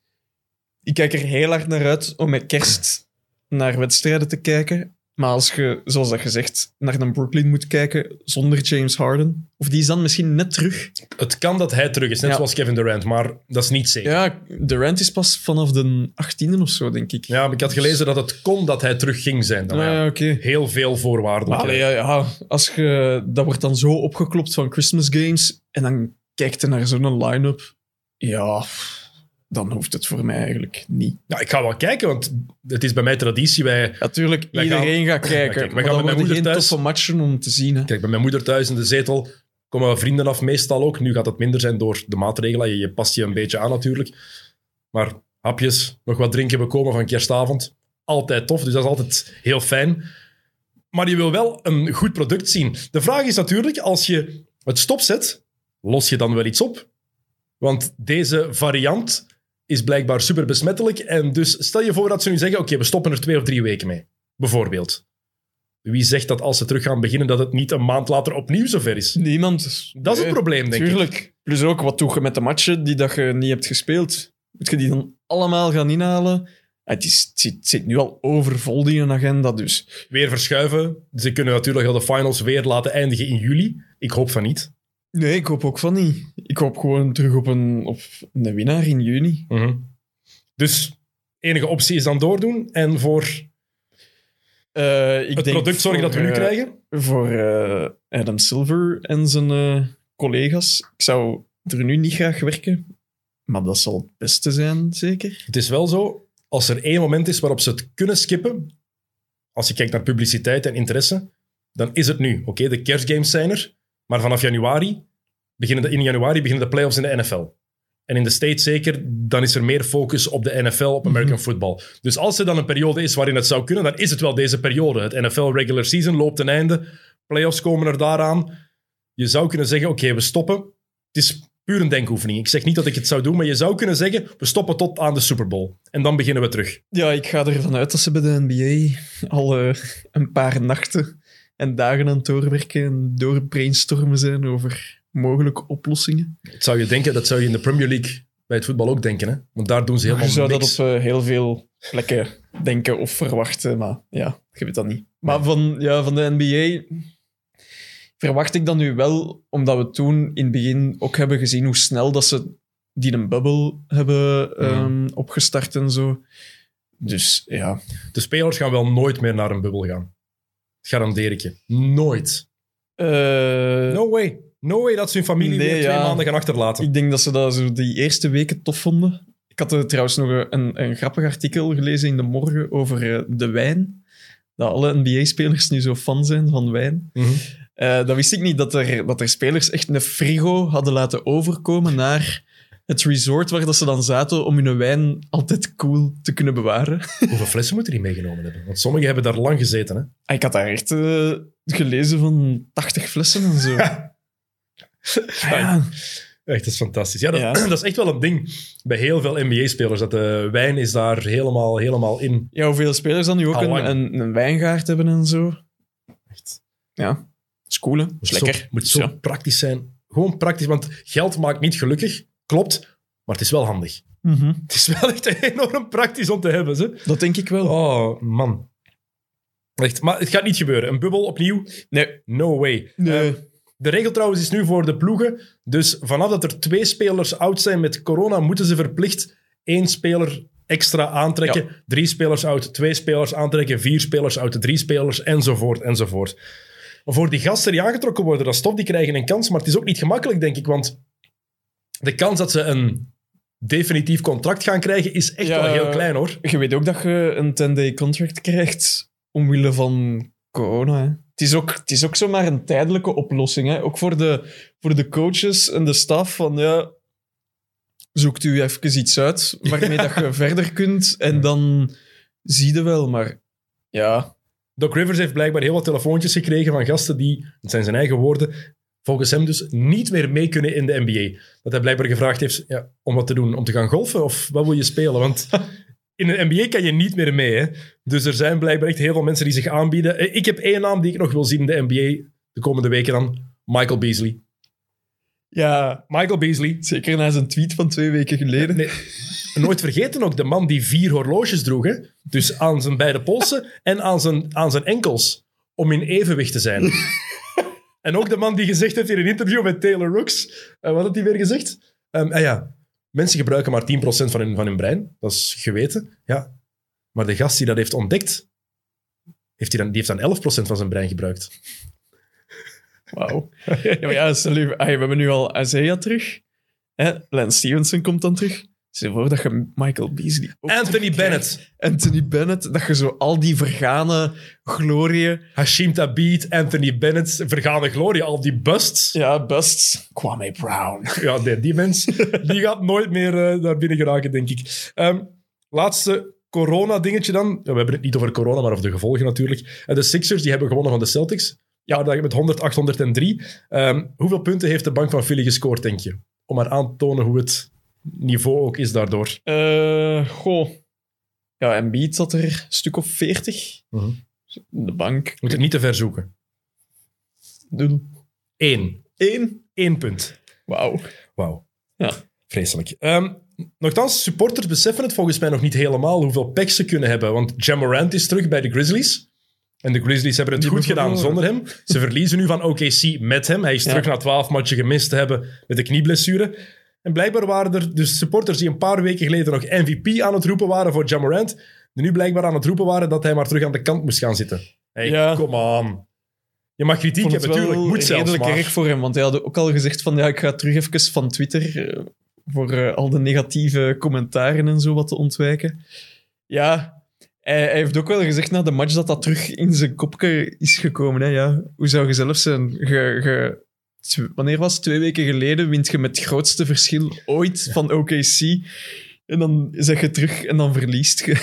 [SPEAKER 3] ik kijk er heel hard naar uit om met kerst naar wedstrijden te kijken. Maar als je, zoals dat gezegd, naar een Brooklyn moet kijken zonder James Harden, of die is dan misschien net terug.
[SPEAKER 2] Het kan dat hij terug is, net
[SPEAKER 3] Ja.
[SPEAKER 2] zoals Kevin Durant, maar dat is niet zeker.
[SPEAKER 3] Ja, Durant is pas vanaf de 18e of zo, denk ik.
[SPEAKER 2] Ja, maar ik had gelezen dat het kon dat hij terug ging zijn. Dan,
[SPEAKER 3] Ah,
[SPEAKER 2] ja.
[SPEAKER 3] ja, oké.
[SPEAKER 2] Heel veel
[SPEAKER 3] Maar
[SPEAKER 2] voorwaarden.
[SPEAKER 3] allee, ja, ja, als je, dat wordt dan zo opgeklopt van Christmas games en dan kijkt je naar zo'n line-up. Ja, dan hoeft het voor mij eigenlijk niet.
[SPEAKER 2] Ja, ik ga wel kijken, want het is bij mij traditie. Wij,
[SPEAKER 3] Natuurlijk,
[SPEAKER 2] Wij
[SPEAKER 3] iedereen gaat
[SPEAKER 2] Ja,
[SPEAKER 3] kijken.
[SPEAKER 2] kijk, wij gaan met
[SPEAKER 3] maar dat
[SPEAKER 2] mijn
[SPEAKER 3] worden
[SPEAKER 2] moeder
[SPEAKER 3] geen
[SPEAKER 2] thuis.
[SPEAKER 3] toffe matchen om te zien. Hè.
[SPEAKER 2] kijk, bij mijn moeder thuis in de zetel komen we vrienden af, meestal ook. Nu gaat dat minder zijn door de maatregelen. Je, je past je een beetje aan natuurlijk. Maar hapjes, nog wat drinken bekomen van kerstavond. Altijd tof, dus dat is altijd heel fijn. Maar je wil wel een goed product zien. De vraag is natuurlijk, als je het stopzet, los je dan wel iets op? Want deze variant is blijkbaar super besmettelijk. En dus stel je voor dat ze nu zeggen: oké, we stoppen er twee of drie weken mee. Bijvoorbeeld. Wie zegt dat als ze terug gaan beginnen, dat het niet een maand later opnieuw zover is?
[SPEAKER 3] Niemand.
[SPEAKER 2] Dat is het probleem, denk ik.
[SPEAKER 3] Tuurlijk. Plus ook, wat doe je met de matchen die dat je niet hebt gespeeld? Moet je die dan allemaal gaan inhalen? Ah, Het, is, het, zit, het zit nu al overvol die een agenda, dus...
[SPEAKER 2] Weer verschuiven. Ze kunnen natuurlijk wel de finals weer laten eindigen in juli. Ik hoop van niet.
[SPEAKER 3] Nee, ik hoop ook van niet. Ik hoop gewoon terug op een, op een winnaar in juni.
[SPEAKER 2] Dus enige optie is dan doordoen en voor
[SPEAKER 3] Eh, ik
[SPEAKER 2] het
[SPEAKER 3] denk
[SPEAKER 2] product zorgen
[SPEAKER 3] voor,
[SPEAKER 2] dat we nu
[SPEAKER 3] eh,
[SPEAKER 2] krijgen.
[SPEAKER 3] Voor eh, Adam Silver en zijn eh, collega's. Ik zou er nu niet graag werken, maar dat zal het beste zijn, zeker.
[SPEAKER 2] Het is wel zo, als er één moment is waarop ze het kunnen skippen, als je kijkt naar publiciteit en interesse, dan is het nu. Oké, de kerstgames zijn er, maar vanaf januari, beginnen de, in januari beginnen de playoffs in de NFL. En in de States zeker, dan is er meer focus op de NFL, op American football. Dus als er dan een periode is waarin het zou kunnen, dan is het wel deze periode. Het NFL regular season loopt ten einde, playoffs komen er daaraan. Je zou kunnen zeggen, oké, we stoppen. Het is puur een denkoefening. Ik zeg niet dat ik het zou doen, maar je zou kunnen zeggen, we stoppen tot aan de Super Bowl. En dan beginnen we terug.
[SPEAKER 3] Ja, ik ga ervan uit dat ze bij de NBA al eh, een paar nachten en dagen aan het doorwerken en doorbrainstormen zijn over mogelijke oplossingen.
[SPEAKER 2] Dat zou je denken, dat zou je in de Premier League bij het voetbal ook denken. Hè? Want daar doen ze
[SPEAKER 3] Je
[SPEAKER 2] helemaal
[SPEAKER 3] zou dat
[SPEAKER 2] niks.
[SPEAKER 3] op eh, heel veel plekken denken of verwachten, maar ja, je weet dat niet. Maar van, ja, van de NBA verwacht ik dat nu wel, omdat we toen in het begin ook hebben gezien hoe snel dat ze die een bubbel hebben ehm, opgestart en zo. Dus ja,
[SPEAKER 2] De spelers gaan wel nooit meer naar een bubbel gaan. Dat garandeer ik je. Nooit.
[SPEAKER 3] Eh,
[SPEAKER 2] No way. No way dat ze hun familie
[SPEAKER 3] Nee,
[SPEAKER 2] weer twee
[SPEAKER 3] ja.
[SPEAKER 2] maanden gaan achterlaten.
[SPEAKER 3] Ik denk dat ze dat zo die eerste weken tof vonden. Ik had eh, trouwens nog een, een grappig artikel gelezen in de morgen over eh, de wijn. Dat alle NBA-spelers nu zo fan zijn van wijn.
[SPEAKER 2] Mhm.
[SPEAKER 3] Eh, dat wist ik niet, dat er, dat er spelers echt een frigo hadden laten overkomen naar het resort waar dat ze dan zaten om hun wijn altijd cool te kunnen bewaren.
[SPEAKER 2] Hoeveel flessen moeten die meegenomen hebben? Want sommigen hebben daar lang gezeten. Hè?
[SPEAKER 3] Ah, Ik had daar echt eh, gelezen van 80 flessen en zo. Ah, ja.
[SPEAKER 2] Echt, dat is fantastisch. Ja dat,
[SPEAKER 3] Ja.
[SPEAKER 2] dat is echt wel een ding bij heel veel NBA-spelers. Dat de wijn is daar helemaal, helemaal in.
[SPEAKER 3] ja, hoeveel spelers dan nu ook
[SPEAKER 2] Al lang.
[SPEAKER 3] een, een, een wijngaard hebben en zo.
[SPEAKER 2] Echt.
[SPEAKER 3] Ja, dat is cool, hè?
[SPEAKER 2] Moet
[SPEAKER 3] is lekker. dus
[SPEAKER 2] Zo, moet zo
[SPEAKER 3] Ja.
[SPEAKER 2] praktisch zijn. Gewoon praktisch, want geld maakt niet gelukkig. Klopt, maar het is wel handig. Het is wel echt enorm praktisch om te hebben. Ze.
[SPEAKER 3] Dat denk ik wel.
[SPEAKER 2] Oh, man. Echt, maar het gaat niet gebeuren. Een bubbel opnieuw?
[SPEAKER 3] Nee.
[SPEAKER 2] No way.
[SPEAKER 3] Ehm,
[SPEAKER 2] Eh, de regel trouwens is nu voor de ploegen. Dus vanaf dat er twee spelers oud zijn met corona, moeten ze verplicht één speler extra aantrekken. Drie spelers oud, twee spelers aantrekken, vier spelers oud, drie spelers, enzovoort, enzovoort. voor die gasten die aangetrokken worden, dat is tof, die krijgen een kans. Maar het is ook niet gemakkelijk, denk ik, want de kans dat ze een definitief contract gaan krijgen is echt
[SPEAKER 3] Ja.
[SPEAKER 2] wel heel klein, hoor.
[SPEAKER 3] Je weet ook dat je een 10-day contract krijgt omwille van corona. hè. Het is ook, het is ook zomaar een tijdelijke oplossing. Hè? Ook voor de, voor de coaches en de staf van ja, zoekt u even iets uit waarmee dat je verder kunt en dan zie je wel. Maar ja,
[SPEAKER 2] Doc Rivers heeft blijkbaar heel wat telefoontjes gekregen van gasten die, het zijn zijn eigen woorden, volgens hem dus niet meer mee kunnen in de NBA. Dat hij blijkbaar gevraagd heeft ja, om wat te doen, om te gaan golfen of wat wil je spelen? Want in de NBA kan je niet meer mee. Hè? Dus er zijn blijkbaar echt heel veel mensen die zich aanbieden. Eh, Ik heb één naam die ik nog wil zien in de NBA de komende weken dan. Michael Beasley.
[SPEAKER 3] ja,
[SPEAKER 2] Michael Beasley.
[SPEAKER 3] zeker na zijn tweet van twee weken geleden.
[SPEAKER 2] Nee, nooit vergeten ook de man die vier horloges droeg. Hè? Dus aan zijn beide polsen en aan zijn, aan zijn enkels. Om in evenwicht te zijn. en ook de man die gezegd heeft in een interview met Taylor Rooks. eh, wat had hij weer gezegd? Ehm, ah ja, mensen gebruiken maar 10% van hun, van hun brein. Dat is geweten. Ja. Maar de gast die dat heeft ontdekt, heeft hij dan, die heeft dan 11% van zijn brein gebruikt.
[SPEAKER 3] Wauw. Ja, maar ja, stel je- ah, we hebben nu al Isaiah terug. Hè? Lance Stevenson komt dan terug. Stel je voor dat je Michael Beasley ook
[SPEAKER 2] Anthony Bennett,
[SPEAKER 3] Anthony Bennett, dat je zo al die vergane glorieën...
[SPEAKER 2] Hashim Tabit, Anthony Bennett, vergane glorie, al die busts.
[SPEAKER 3] Ja, best. Kwame Brown.
[SPEAKER 2] Ja, nee, die mens die gaat nooit meer eh, naar binnen geraken, denk ik. Ehm, laatste corona-dingetje dan. Ja, we hebben het niet over corona, maar over de gevolgen natuurlijk. En de Sixers die hebben gewonnen van de Celtics. Ja, dat met 100, 803. Ehm, hoeveel punten heeft de bank van Philly gescoord, denk je? Om maar aan te tonen hoe het niveau ook is daardoor.
[SPEAKER 3] Eh goh. Ja, Embiid zat er een stuk of 40.
[SPEAKER 2] Mhm.
[SPEAKER 3] De bank.
[SPEAKER 2] Moet het niet te ver zoeken.
[SPEAKER 3] Doen.
[SPEAKER 2] Eén.
[SPEAKER 3] Eén.
[SPEAKER 2] Eén punt.
[SPEAKER 3] Wauw.
[SPEAKER 2] Wauw.
[SPEAKER 3] Ja.
[SPEAKER 2] Vreselijk. Ehm nochtans, supporters beseffen het volgens mij nog niet helemaal hoeveel packs ze kunnen hebben. Want Jamorant is terug bij de Grizzlies. En de Grizzlies hebben het goed gedaan zonder hem. Ze verliezen nu van OKC met hem. Hij is terug na 12 matchen gemist te hebben met de knieblessure. En blijkbaar waren er dus supporters die een paar weken geleden nog MVP aan het roepen waren voor Jamorant. Die nu blijkbaar aan het roepen waren dat hij maar terug aan de kant moest gaan zitten. Hey,
[SPEAKER 3] Ja.
[SPEAKER 2] come on. Je mag kritiek hebben, natuurlijk. Moet zelfs
[SPEAKER 3] redelijk
[SPEAKER 2] maar.
[SPEAKER 3] erg voor hem, want hij had ook al gezegd van ja, ik ga terug even van Twitter eh, voor eh, al de negatieve commentaren en zo wat te ontwijken. Ja, hij, hij heeft ook wel gezegd na de match dat dat terug in zijn kopje is gekomen. Hè, ja. Hoe zou je zelf zijn? Je- je- tw- wanneer was het? Twee weken geleden wint je met het grootste verschil ooit van OKC. En dan zeg je terug en dan verliest je.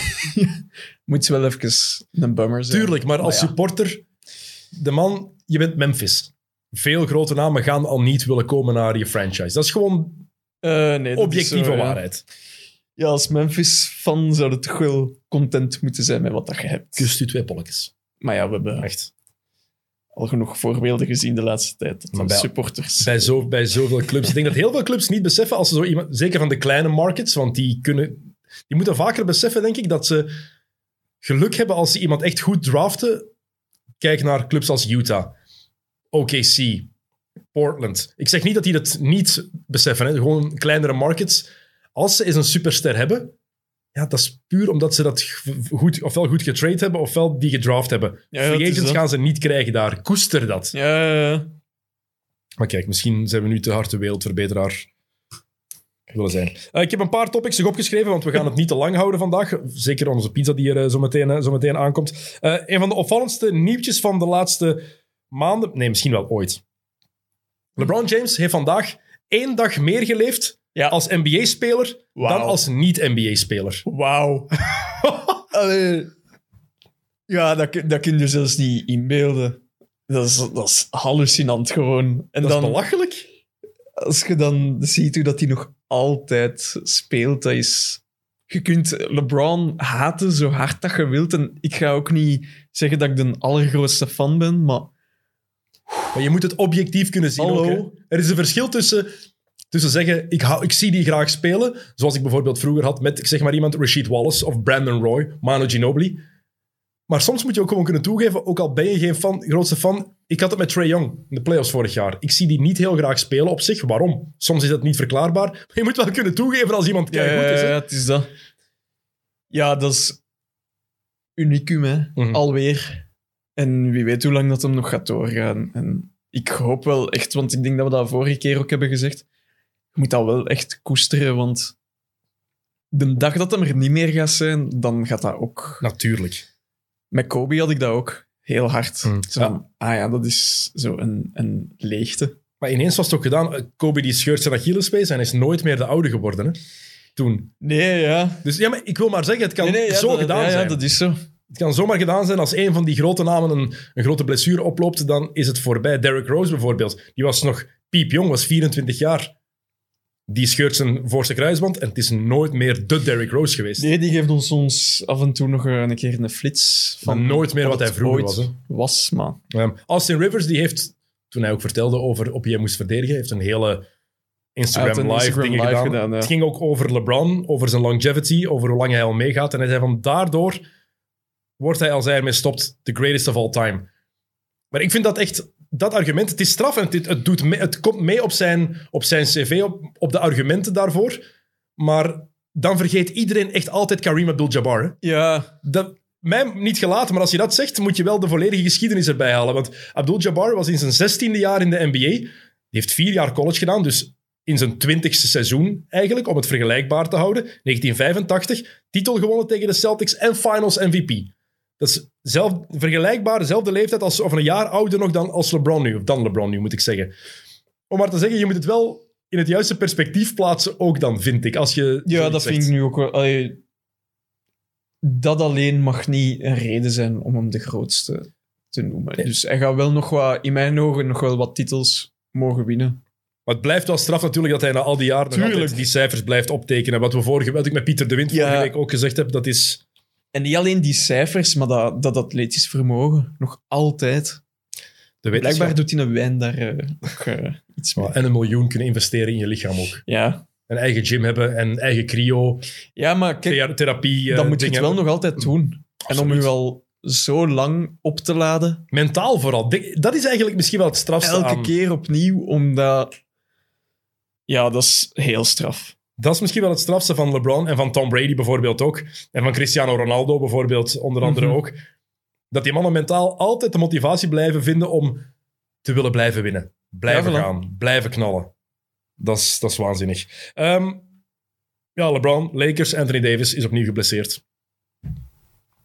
[SPEAKER 3] Moet wel even een bummer zijn.
[SPEAKER 2] Tuurlijk, maar als
[SPEAKER 3] ja.
[SPEAKER 2] supporter, de man, je bent Memphis. Veel grote namen gaan al niet willen komen naar je franchise. Dat is gewoon
[SPEAKER 3] Eh, nee, dat is
[SPEAKER 2] objectieve
[SPEAKER 3] zo, ja.
[SPEAKER 2] waarheid.
[SPEAKER 3] Ja, als Memphis-fan zou je toch wel content moeten zijn met wat dat je hebt.
[SPEAKER 2] Kust u twee polletjes.
[SPEAKER 3] Maar ja, we hebben
[SPEAKER 2] Echt.
[SPEAKER 3] al genoeg voorbeelden gezien de laatste tijd. Dat
[SPEAKER 2] Maar
[SPEAKER 3] dan
[SPEAKER 2] bij-
[SPEAKER 3] supporters.
[SPEAKER 2] Bij, zo, bij zoveel clubs. Ik denk dat heel veel clubs niet beseffen, als ze zo iemand, zeker van de kleine markets, want die, kunnen, die moeten vaker beseffen, denk ik, dat ze geluk hebben als ze iemand echt goed draften. Kijk naar clubs als Utah, OKC, Portland. Ik zeg niet dat die dat niet beseffen, hè. gewoon kleinere markets. Als ze eens een superster hebben, ja, dat is puur omdat ze dat g- goed, ofwel goed getrade hebben, ofwel die gedraft hebben.
[SPEAKER 3] Ja, dat
[SPEAKER 2] Free
[SPEAKER 3] is
[SPEAKER 2] agents
[SPEAKER 3] dat.
[SPEAKER 2] gaan ze niet krijgen daar. Koester dat.
[SPEAKER 3] Ja, ja, ja.
[SPEAKER 2] Maar kijk, misschien zijn we nu te hard de wereldverbeteraar willen zijn. Eh, ik heb een paar topics nog opgeschreven, want we gaan het niet te lang houden vandaag. Zeker onze pizza die er eh, zo, meteen, eh, zo meteen aankomt. Eh, een van de opvallendste nieuwtjes van de laatste maanden... Nee, misschien wel ooit. LeBron James heeft vandaag één dag meer geleefd
[SPEAKER 3] Ja.
[SPEAKER 2] als NBA-speler
[SPEAKER 3] Wauw.
[SPEAKER 2] dan als niet-NBA-speler.
[SPEAKER 3] Wauw. Allee. ja, dat, kun- dat kun je zelfs niet inbeelden. Dat is, dat is hallucinant gewoon. En
[SPEAKER 2] Dat is
[SPEAKER 3] dan,
[SPEAKER 2] belachelijk.
[SPEAKER 3] als je dan ziet hoe dat hij nog altijd speelt, dat is... Je kunt LeBron haten zo hard dat je wilt. En ik ga ook niet zeggen dat ik de allergrootste fan ben, maar
[SPEAKER 2] Maar je moet het objectief kunnen zien.
[SPEAKER 3] Hallo.
[SPEAKER 2] ook, hè. er is een verschil tussen, tussen zeggen, ik, hou, ik zie die graag spelen, zoals ik bijvoorbeeld vroeger had met, ik zeg maar iemand, Rashid Wallace of Brandon Roy, Manu Ginobili. Maar soms moet je ook gewoon kunnen toegeven, ook al ben je geen fan, grootste fan, ik had het met Trae Young in de playoffs vorig jaar. Ik zie die niet heel graag spelen op zich. Waarom? Soms is dat niet verklaarbaar. Maar je moet wel kunnen toegeven als iemand
[SPEAKER 3] Ja,
[SPEAKER 2] keigoed is.
[SPEAKER 3] ja,
[SPEAKER 2] hè.
[SPEAKER 3] ja, het is dat. Ja, dat is unicum, hè.
[SPEAKER 2] Mhm.
[SPEAKER 3] Alweer. En wie weet hoe lang dat hem nog gaat doorgaan. En ik hoop wel echt, want ik denk dat we dat vorige keer ook hebben gezegd. Je moet dat wel echt koesteren, want de dag dat hem er niet meer gaat zijn, dan gaat dat ook.
[SPEAKER 2] Natuurlijk.
[SPEAKER 3] Met Kobe had ik dat ook heel hard.
[SPEAKER 2] Mm,
[SPEAKER 3] Zo,
[SPEAKER 2] ja.
[SPEAKER 3] Ah ja, dat is zo een, een leegte.
[SPEAKER 2] Maar ineens was het ook gedaan. eh, Kobe die scheurt zijn Achillespees en is nooit meer de oude geworden. Hè? Toen.
[SPEAKER 3] Nee, ja.
[SPEAKER 2] Dus ja, maar ik wil maar zeggen, het kan
[SPEAKER 3] Nee, nee, ja,
[SPEAKER 2] zo
[SPEAKER 3] dat-
[SPEAKER 2] gedaan
[SPEAKER 3] ja, ja,
[SPEAKER 2] zijn.
[SPEAKER 3] dat is zo.
[SPEAKER 2] Het kan zomaar gedaan zijn als een van die grote namen een, een grote blessure oploopt, dan is het voorbij. Derrick Rose bijvoorbeeld, die was nog piepjong, was 24 jaar. Die scheurt zijn voorste kruisband en het is nooit meer de Derrick Rose geweest.
[SPEAKER 3] Nee, die geeft ons soms af en toe nog een keer een flits van.
[SPEAKER 2] Maar nooit meer wat
[SPEAKER 3] het
[SPEAKER 2] hij vroeger
[SPEAKER 3] ooit
[SPEAKER 2] was, hè.
[SPEAKER 3] Was, maar.
[SPEAKER 2] Ehm, Austin Rivers, die heeft, toen hij ook vertelde over op wie hij moest verdedigen, heeft een hele Instagram
[SPEAKER 3] Hij had een
[SPEAKER 2] live
[SPEAKER 3] Instagram
[SPEAKER 2] dingen
[SPEAKER 3] live
[SPEAKER 2] gedaan.
[SPEAKER 3] gedaan, ja.
[SPEAKER 2] Het ging ook over LeBron, over zijn longevity, over hoe lang hij al meegaat. En hij zei van, daardoor wordt hij, als hij ermee stopt, the greatest of all time. Maar ik vind dat echt, dat argument, het is straf en het, het, doet mee- het komt mee op zijn, op zijn cv, op, op de argumenten daarvoor. Maar dan vergeet iedereen echt altijd Kareem Abdul-Jabbar. hè.
[SPEAKER 3] Ja,
[SPEAKER 2] dat, mij niet gelaten, maar als je dat zegt, moet je wel de volledige geschiedenis erbij halen. Want Abdul-Jabbar was in zijn zestiende jaar in de NBA. Die heeft vier jaar college gedaan, dus in zijn twintigste seizoen eigenlijk, om het vergelijkbaar te houden. 1985, titel gewonnen tegen de Celtics en Finals MVP. Dat is zelf, vergelijkbaar, dezelfde leeftijd als, of een jaar ouder nog dan als LeBron nu, of dan LeBron nu moet ik zeggen. Om maar te zeggen, je moet het wel in het juiste perspectief plaatsen, ook dan vind ik. Als je
[SPEAKER 3] ja
[SPEAKER 2] zoiets
[SPEAKER 3] dat
[SPEAKER 2] zegt.
[SPEAKER 3] vind ik nu ook wel. allee, dat alleen mag niet een reden zijn om hem de grootste te noemen. Dus hij gaat wel nog wat, in mijn ogen, nog wel wat titels mogen winnen.
[SPEAKER 2] Maar het blijft wel straf natuurlijk dat hij na al die jaren nog
[SPEAKER 3] Tuurlijk.
[SPEAKER 2] altijd die cijfers blijft optekenen. Wat, we vorige, wat ik met Pieter de Wind
[SPEAKER 3] Ja.
[SPEAKER 2] vorige week ook gezegd heb, dat is...
[SPEAKER 3] En niet alleen die cijfers, maar dat, dat atletisch vermogen. Nog altijd.
[SPEAKER 2] De wetenschap.
[SPEAKER 3] Blijkbaar doet hij een wijn daar eh, ook eh, iets mee.
[SPEAKER 2] Ja, En een miljoen kunnen investeren in je lichaam ook.
[SPEAKER 3] Ja.
[SPEAKER 2] Een eigen gym hebben, en eigen cryo,
[SPEAKER 3] ja, maar kijk,
[SPEAKER 2] thea- therapie. eh,
[SPEAKER 3] dan moet je het
[SPEAKER 2] dingen
[SPEAKER 3] wel
[SPEAKER 2] hebben.
[SPEAKER 3] nog altijd doen. En om
[SPEAKER 2] Absoluut.
[SPEAKER 3] u al zo lang op te laden,
[SPEAKER 2] Mentaal vooral. Dik- Dat is eigenlijk misschien wel het strafste
[SPEAKER 3] elke
[SPEAKER 2] aan-
[SPEAKER 3] keer opnieuw, omdat... Ja, dat is heel straf.
[SPEAKER 2] Dat is misschien wel het strafste van LeBron en van Tom Brady bijvoorbeeld ook. En van Cristiano Ronaldo bijvoorbeeld, onder andere
[SPEAKER 3] Mhm.
[SPEAKER 2] ook. Dat die mannen mentaal altijd de motivatie blijven vinden om te willen blijven winnen. Blijven
[SPEAKER 3] Ja, voilà.
[SPEAKER 2] gaan, blijven knallen. Dat is, dat is waanzinnig. Ehm, ja, LeBron, Lakers, Anthony Davis is opnieuw geblesseerd.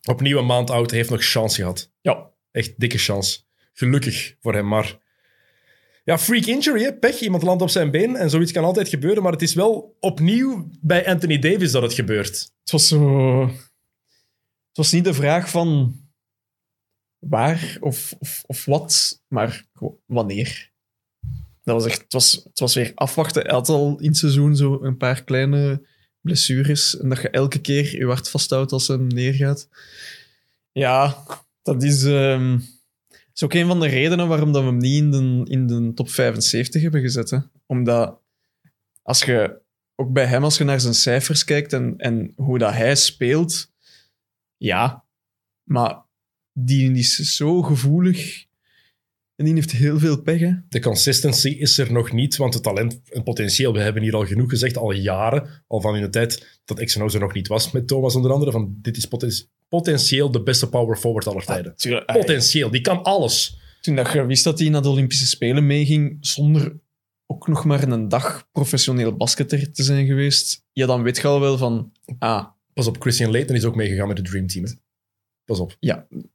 [SPEAKER 2] Opnieuw een maand oud, heeft nog chance gehad.
[SPEAKER 3] Ja.
[SPEAKER 2] Echt dikke chance. Gelukkig voor hem, maar... Ja, freak injury, hè? pech. Iemand landt op zijn been en zoiets kan altijd gebeuren. Maar het is wel opnieuw bij Anthony Davis dat het gebeurt.
[SPEAKER 3] Het was zo... Het was niet de vraag van waar of, of, of wat, maar gewoon wanneer. Dat was echt, het, was, het was weer afwachten. Hij had al in het seizoen zo een paar kleine blessures. En dat je elke keer je hart vasthoudt als hem neergaat. Ja, dat is, ehm, is ook een van de redenen waarom dat we hem niet in de, in de top 75 hebben gezet. Hè. Omdat als je ook bij hem, als je naar zijn cijfers kijkt en, en hoe dat hij speelt, ja, maar die is zo gevoelig en die heeft heel veel pech. Hè.
[SPEAKER 2] De consistency is er nog niet, want het talent en potentieel, we hebben hier al genoeg gezegd, al jaren, al van in de tijd dat Xenos er nog niet was met Thomas onder andere, van dit is poten- potentieel de beste power forward aller tijden.
[SPEAKER 3] Tuurlijk,
[SPEAKER 2] Potentieel, die kan alles.
[SPEAKER 3] Toen dat je wist dat hij naar de Olympische Spelen meeging, zonder ook nog maar een dag professioneel basketter te zijn geweest, ja, dan weet je al wel van, ah,
[SPEAKER 2] Pas op, Christian Leighton is ook meegegaan met de Dream Team. hè. Pas op.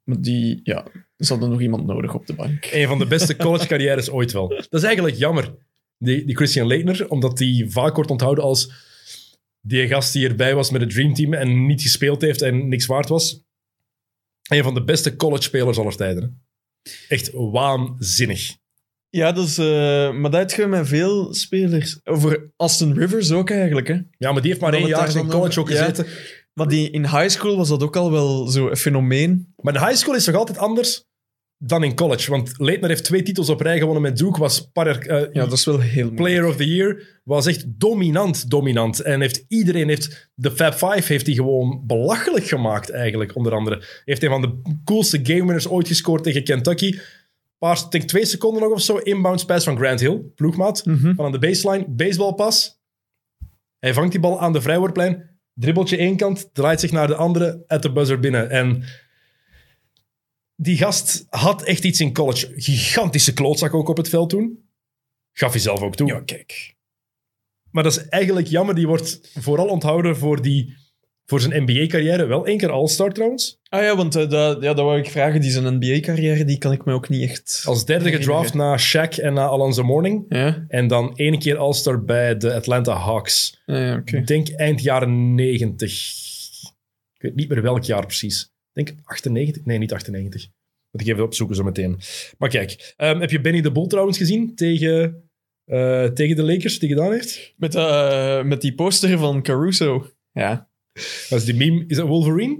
[SPEAKER 3] maar die, ja, ze hadden nog iemand nodig op de bank.
[SPEAKER 2] Een van de beste collegecarrières ooit wel. Dat is eigenlijk jammer, die, die Christian Leitner, omdat die vaak wordt onthouden als die gast die erbij was met het Dream Team en niet gespeeld heeft en niks waard was. Een van de beste college-spelers aller tijden. hè. Echt waanzinnig.
[SPEAKER 3] Ja, dat is, eh, maar dat heb je met veel spelers. Over Aston Rivers ook eigenlijk, hè.
[SPEAKER 2] Ja, maar die heeft maar
[SPEAKER 3] Dan
[SPEAKER 2] één
[SPEAKER 3] het
[SPEAKER 2] jaar
[SPEAKER 3] daar
[SPEAKER 2] in
[SPEAKER 3] dan
[SPEAKER 2] college ook
[SPEAKER 3] over- ja.
[SPEAKER 2] gezeten.
[SPEAKER 3] Maar die, in high school was dat ook al wel zo'n fenomeen.
[SPEAKER 2] Maar de high school is toch altijd anders dan in college? Want Leitner heeft twee titels op rij gewonnen met Duke, was par, eh,
[SPEAKER 3] Ja, dat is wel heel mooi.
[SPEAKER 2] Player of the Year was echt dominant, dominant. En heeft iedereen, heeft de Fab Five heeft hij gewoon belachelijk gemaakt eigenlijk, onder andere. Heeft een van de coolste gamewinners ooit gescoord tegen Kentucky. Paar, denk twee seconden nog of zo, inbounds pass van Grant Hill, ploegmaat. Van aan de baseline, baseballpas. Hij vangt die bal aan de vrijwoordplein, dribbeltje één kant, draait zich naar de andere, at de buzzer binnen. En die gast had echt iets in college. Gigantische klootzak ook op het veld toen. Gaf hij zelf ook toe. Ja, kijk. Maar dat is eigenlijk jammer. Die wordt vooral onthouden voor, die, voor zijn NBA-carrière. Wel één keer All-Star trouwens.
[SPEAKER 3] Ah ja, want eh, dat, ja, dat wou ik vragen. Die zijn NBA-carrière, die kan ik me ook niet echt...
[SPEAKER 2] Als derde gedraft na Shaq en na Alonzo Mourning.
[SPEAKER 3] Ja?
[SPEAKER 2] En dan één keer All-Star bij de Atlanta Hawks.
[SPEAKER 3] Ah ja, oké.
[SPEAKER 2] Ik denk eind jaren 90. Ik weet niet meer welk jaar precies. Ik denk 98. Nee, niet 98. Moet ik even opzoeken zo meteen. Maar kijk, ehm, heb je Benny de Bol trouwens gezien tegen, eh, tegen de Lakers die gedaan heeft?
[SPEAKER 3] Met, eh, met die poster van Caruso. Ja.
[SPEAKER 2] Dat is die meme. Is dat Wolverine?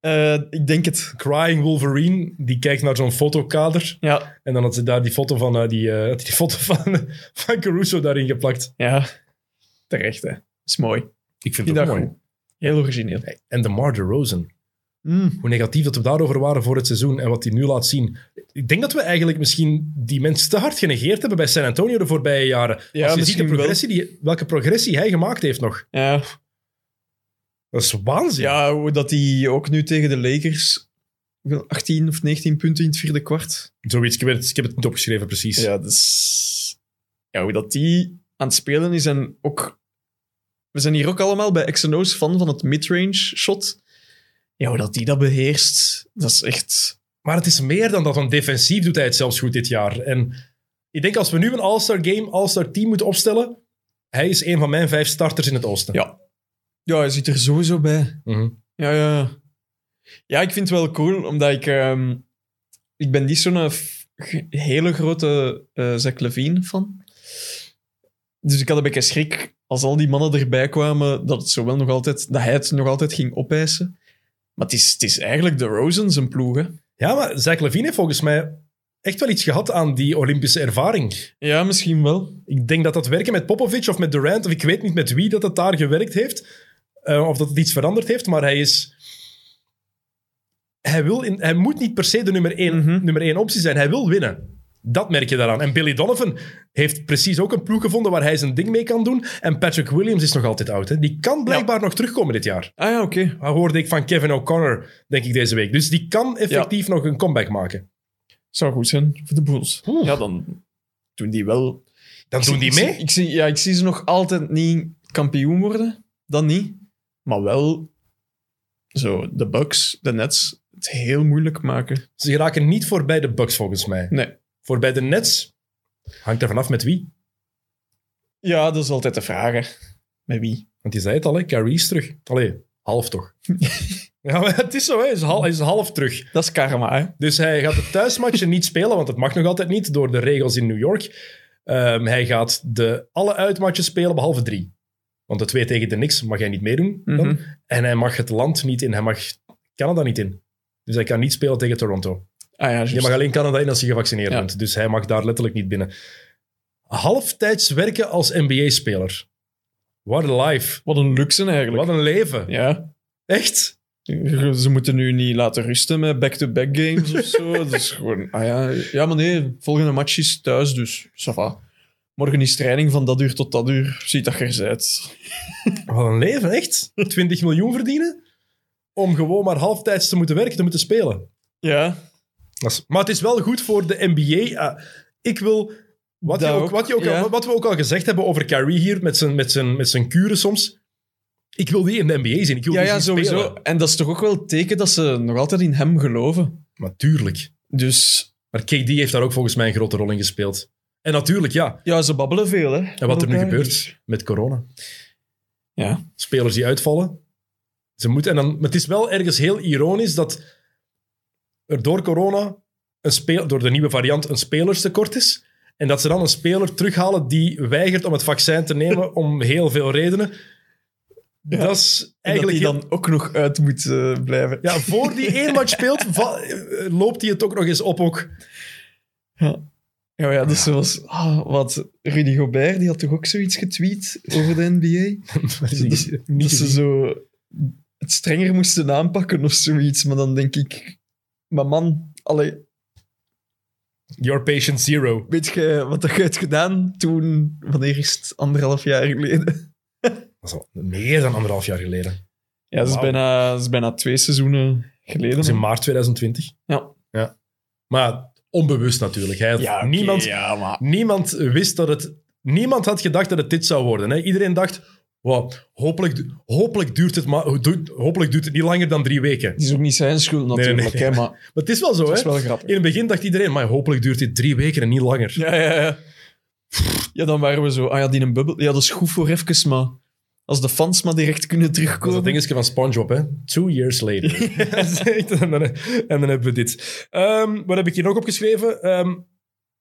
[SPEAKER 3] Eh, ik denk het.
[SPEAKER 2] Crying Wolverine. Die kijkt naar zo'n fotokader.
[SPEAKER 3] Ja.
[SPEAKER 2] En dan had ze daar die foto van, eh, die, eh, had die foto van, van Caruso daarin geplakt.
[SPEAKER 3] Ja. Terecht, hè. Is mooi.
[SPEAKER 2] Ik vind
[SPEAKER 3] Die
[SPEAKER 2] het
[SPEAKER 3] dag
[SPEAKER 2] ook mooi.
[SPEAKER 3] goed. Heel origineel.
[SPEAKER 2] En de Mar Rosen.
[SPEAKER 3] Mm.
[SPEAKER 2] hoe negatief dat we daarover waren voor het seizoen en wat hij nu laat zien. Ik denk dat we eigenlijk misschien die mensen te hard genegeerd hebben bij San Antonio de voorbije jaren.
[SPEAKER 3] Ja,
[SPEAKER 2] Als je ziet de
[SPEAKER 3] misschien wel.
[SPEAKER 2] progressie die, welke progressie hij gemaakt heeft nog.
[SPEAKER 3] Ja.
[SPEAKER 2] Dat is waanzin.
[SPEAKER 3] ja, hoe dat hij ook nu tegen de Lakers... hoeveel, 18 of 19 punten in het vierde kwart.
[SPEAKER 2] Zoiets, ik heb, het, ik heb het niet opgeschreven precies.
[SPEAKER 3] Ja, dus... Ja, hoe dat die aan het spelen is en ook... We zijn hier ook allemaal bij X&O's fan van het midrange shot. Ja, hoe dat die dat beheerst, dat is echt...
[SPEAKER 2] Maar het is meer dan dat, want defensief doet hij het zelfs goed dit jaar. En ik denk als we nu een All-Star game, All-Star team moeten opstellen, hij is een van mijn vijf starters in het oosten.
[SPEAKER 3] Ja. Ja, hij zit er sowieso bij.
[SPEAKER 2] Mhm.
[SPEAKER 3] Ja, ja. Ja, ik vind het wel cool, omdat ik... ehm, ik ben niet zo'n eh, f- g- hele grote eh Zach Levine fan. Dus ik had een beetje schrik als al die mannen erbij kwamen, dat, het zowel nog altijd, dat hij het nog altijd ging opeisen. Maar het is, het is eigenlijk de Rosen zijn ploeg, hè.
[SPEAKER 2] Ja, maar Zach Levine heeft volgens mij echt wel iets gehad aan die Olympische ervaring.
[SPEAKER 3] Ja, misschien wel.
[SPEAKER 2] Ik denk dat dat werken met Popovic of met Durant, of ik weet niet met wie dat het daar gewerkt heeft, eh, of dat het iets veranderd heeft, maar hij is... Hij, wil in, hij moet niet per se de nummer één,
[SPEAKER 3] Mhm.
[SPEAKER 2] nummer één optie zijn. Hij wil winnen. Dat merk je daaraan. En Billy Donovan heeft precies ook een ploeg gevonden waar hij zijn ding mee kan doen. En Patrick Williams is nog altijd oud. Hè? Die kan blijkbaar nog terugkomen dit jaar.
[SPEAKER 3] Ah ja, oké.
[SPEAKER 2] Dat hoorde ik van Kevin O'Connor, denk ik, deze week. Dus die kan effectief nog een comeback maken.
[SPEAKER 3] Zou goed zijn voor de Bulls.
[SPEAKER 2] Oeh.
[SPEAKER 3] Ja, dan doen die wel
[SPEAKER 2] Dan
[SPEAKER 3] Ik
[SPEAKER 2] doen
[SPEAKER 3] zie-
[SPEAKER 2] die
[SPEAKER 3] ik
[SPEAKER 2] mee.
[SPEAKER 3] zie- Ik zie, ja, ik zie ze nog altijd niet kampioen worden. Dat niet. Maar wel zo de Bucks, de Nets, het heel moeilijk maken.
[SPEAKER 2] Ze geraken niet voorbij de Bucks, volgens mij.
[SPEAKER 3] Nee.
[SPEAKER 2] Voor bij de Nets hangt er vanaf met wie.
[SPEAKER 3] Ja, dat is altijd de vraag. hè. Met wie?
[SPEAKER 2] Want je zei het al, hè? Carrie is terug. Allee, half toch? ja, maar het is zo, hè. Hij is, hal- hij is half terug.
[SPEAKER 3] Dat is karma, hè?
[SPEAKER 2] Dus hij gaat de thuismatchen niet spelen, want dat mag nog altijd niet door de regels in New York. Ehm, hij gaat de, alle uitmatchen spelen, behalve drie. Want de twee tegen de niks mag hij niet meedoen. dan.
[SPEAKER 3] Mhm.
[SPEAKER 2] En hij mag het land niet in. Hij mag Canada niet in. Dus hij kan niet spelen tegen Toronto.
[SPEAKER 3] Ah ja, juist.
[SPEAKER 2] Je mag alleen Canada in als je gevaccineerd
[SPEAKER 3] Ja.
[SPEAKER 2] bent. Dus hij mag daar letterlijk niet binnen. Halftijds werken als NBA-speler. What a life.
[SPEAKER 3] Wat een luxe eigenlijk.
[SPEAKER 2] Wat een leven.
[SPEAKER 3] Ja.
[SPEAKER 2] Echt?
[SPEAKER 3] Ze moeten nu niet laten rusten met back-to-back games of zo. dat is gewoon... Ah ja, ja, maar nee, volgende match is thuis, dus ça va. Morgen is training van dat uur tot dat uur. Ziet dat je er zijt.
[SPEAKER 2] Wat een leven, echt? 20 miljoen verdienen? Om gewoon maar halftijds te moeten werken, te moeten spelen.
[SPEAKER 3] Ja,
[SPEAKER 2] Dat is- Maar het is wel goed voor de NBA. Ah, ik wil. Wat, je
[SPEAKER 3] Dat
[SPEAKER 2] ook,
[SPEAKER 3] ook,
[SPEAKER 2] wat, je ook
[SPEAKER 3] ja.
[SPEAKER 2] al, wat we ook al gezegd hebben over Kyrie hier met zijn, met zijn, met zijn kuren soms. Ik wil die in de NBA zien. Ik wil
[SPEAKER 3] Ja,
[SPEAKER 2] die
[SPEAKER 3] ja,
[SPEAKER 2] zien
[SPEAKER 3] sowieso.
[SPEAKER 2] spelen.
[SPEAKER 3] En dat is toch ook wel het teken dat ze nog altijd in hem geloven.
[SPEAKER 2] Maar tuurlijk.
[SPEAKER 3] Dus
[SPEAKER 2] Maar KD heeft daar ook volgens mij een grote rol in gespeeld. En natuurlijk, ja.
[SPEAKER 3] ja, ze babbelen veel, hè. Dus,
[SPEAKER 2] En wat er nu gebeurt met corona.
[SPEAKER 3] Ja.
[SPEAKER 2] Spelers die uitvallen. Ze moeten, en dan, maar het is wel ergens heel ironisch dat er door corona, een speel, door de nieuwe variant, een spelerstekort is. En dat ze dan een speler terughalen die weigert om het vaccin te nemen om heel veel redenen. Dat is
[SPEAKER 3] Eigenlijk
[SPEAKER 2] eigenlijk...
[SPEAKER 3] dat
[SPEAKER 2] heel-
[SPEAKER 3] hij dan ook nog uit moet eh, blijven.
[SPEAKER 2] ja, voor die één match speelt, va- loopt hij het ook nog eens op ook.
[SPEAKER 3] ja, ja, dus zoals... ah, wat, Rudy Gobert, die had toch ook zoiets getweet over de NBA?
[SPEAKER 2] Niet
[SPEAKER 3] Dus dat ze
[SPEAKER 2] gezien.
[SPEAKER 3] zo het strenger moesten aanpakken of zoiets. Maar dan denk ik... Maar man, allee,
[SPEAKER 2] Your patient zero.
[SPEAKER 3] weet je wat dat je hebt gedaan toen... Wanneer is het? Anderhalf jaar geleden?
[SPEAKER 2] Dat is al meer dan anderhalf jaar geleden.
[SPEAKER 3] Ja, dat is,
[SPEAKER 2] Wauw.
[SPEAKER 3] bijna, dat is bijna twee seizoenen geleden.
[SPEAKER 2] Dat is in
[SPEAKER 3] man.
[SPEAKER 2] maart 2020.
[SPEAKER 3] Mhm. Ja.
[SPEAKER 2] Maar onbewust natuurlijk. Hij had-
[SPEAKER 3] oké,
[SPEAKER 2] niemand,
[SPEAKER 3] Ja, maar...
[SPEAKER 2] niemand wist dat het... Niemand had gedacht dat het dit zou worden. Hè. Iedereen dacht, wow, hopelijk, du- hopelijk, duurt het maar, du- hopelijk duurt het niet langer dan drie weken.
[SPEAKER 3] Het is ook niet zijn schuld natuurlijk,
[SPEAKER 2] nee, nee.
[SPEAKER 3] Hè, maar
[SPEAKER 2] Maar het is wel zo,
[SPEAKER 3] het is
[SPEAKER 2] hè.
[SPEAKER 3] wel grappig.
[SPEAKER 2] In het begin dacht iedereen, maar hopelijk duurt dit drie weken en niet langer.
[SPEAKER 3] Ja, ja, ja. Ja, dan waren we zo. Ah ja, die een bubbel. Ja, dat is goed voor even, maar als de fans maar direct kunnen
[SPEAKER 2] Dat is dat
[SPEAKER 3] terugkomen.
[SPEAKER 2] dingetje van SpongeBob, hè? Two years later. Dat is echt- en, dan, en dan hebben we dit. Ehm, wat heb ik hier nog opgeschreven? Ehm,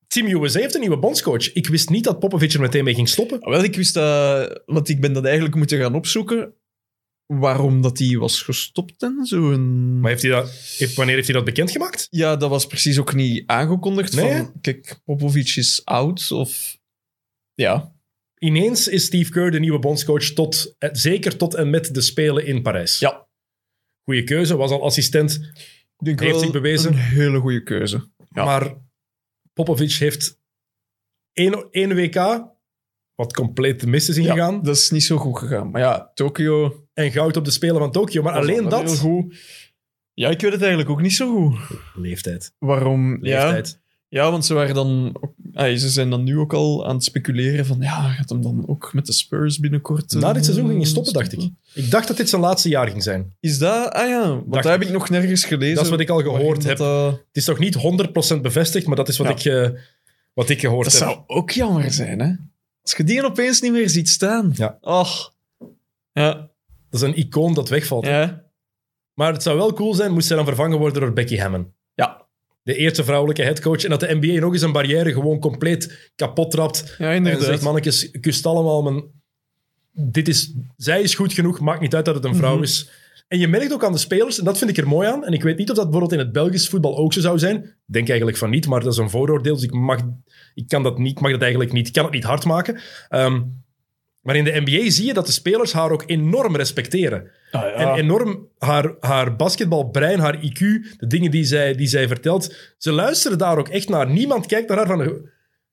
[SPEAKER 2] Team USA heeft een nieuwe bondscoach. Ik wist niet dat Popovic er meteen mee ging stoppen.
[SPEAKER 3] Ah, Wel, ik wist dat, want ik ben dat eigenlijk moeten gaan opzoeken. Waarom dat die was gestopt en zo. En...
[SPEAKER 2] Maar heeft hij dat, heeft, wanneer heeft hij dat bekendgemaakt?
[SPEAKER 3] Ja, dat was precies ook niet aangekondigd.
[SPEAKER 2] Nee, hè?
[SPEAKER 3] Van, kijk, Popovic is oud of. Ja,
[SPEAKER 2] Ineens is Steve Kerr de nieuwe bondscoach, tot, eh, zeker tot en met de Spelen in Parijs.
[SPEAKER 3] Ja.
[SPEAKER 2] Goeie keuze, was al assistent.
[SPEAKER 3] ik denk
[SPEAKER 2] Heeft
[SPEAKER 3] wel
[SPEAKER 2] zich bewezen.
[SPEAKER 3] een hele goede keuze. Ja.
[SPEAKER 2] Maar Popovic heeft één, één WK, wat compleet de mist is
[SPEAKER 3] Ja,
[SPEAKER 2] ingegaan,
[SPEAKER 3] dat is niet zo goed gegaan. Maar ja, Tokio.
[SPEAKER 2] en goud op de Spelen van Tokio. Maar
[SPEAKER 3] was
[SPEAKER 2] alleen
[SPEAKER 3] allemaal
[SPEAKER 2] dat...
[SPEAKER 3] Heel goed. Ja, ik weet het eigenlijk ook niet zo goed.
[SPEAKER 2] Leeftijd.
[SPEAKER 3] Waarom? Ja,
[SPEAKER 2] Leeftijd.
[SPEAKER 3] ja, want ze waren dan. Ook, ah, ze zijn dan nu ook al aan het speculeren van. Ja, gaat hem dan ook met de Spurs binnenkort. eh,
[SPEAKER 2] Na dit seizoen ging je stoppen, dacht ik. Ik dacht dat dit zijn laatste jaar ging zijn.
[SPEAKER 3] Is dat? Ah ja, want
[SPEAKER 2] Dacht
[SPEAKER 3] dat heb
[SPEAKER 2] ik.
[SPEAKER 3] ik nog nergens gelezen.
[SPEAKER 2] Dat is wat ik al gehoord
[SPEAKER 3] waarin
[SPEAKER 2] heb.
[SPEAKER 3] Dat, eh,
[SPEAKER 2] Het is nog niet 100% bevestigd, maar dat is wat,
[SPEAKER 3] Ja.
[SPEAKER 2] ik, eh, wat ik gehoord
[SPEAKER 3] dat
[SPEAKER 2] heb.
[SPEAKER 3] zou ook jammer zijn, hè? Als je die opeens niet meer ziet staan.
[SPEAKER 2] Ja.
[SPEAKER 3] Och. Ja,
[SPEAKER 2] Dat is een icoon dat wegvalt.
[SPEAKER 3] ja.
[SPEAKER 2] Maar het zou wel cool zijn moest zij dan vervangen worden door Becky Hammon.
[SPEAKER 3] Ja.
[SPEAKER 2] De eerste vrouwelijke headcoach. En dat de NBA nog eens een barrière gewoon compleet kapot trapt.
[SPEAKER 3] ja
[SPEAKER 2] En zegt,
[SPEAKER 3] inderdaad.
[SPEAKER 2] mannetjes, kust allemaal mijn... Dit is... Zij is goed genoeg, maakt niet uit dat het een vrouw
[SPEAKER 3] Mhm.
[SPEAKER 2] is. En je merkt ook aan de spelers, en dat vind ik er mooi aan, en ik weet niet of dat bijvoorbeeld in het Belgisch voetbal ook zo zou zijn. Ik denk eigenlijk van niet, maar dat is een vooroordeel, dus ik mag, ik kan dat niet, ik mag dat eigenlijk niet, ik kan het niet hard maken. Ehm, maar in de NBA zie je dat de spelers haar ook enorm respecteren.
[SPEAKER 3] Ah,
[SPEAKER 2] En enorm haar, haar basketbalbrein, haar IQ, de dingen die zij, die zij vertelt. Ze luisteren daar ook echt naar. Niemand kijkt naar haar van... eh,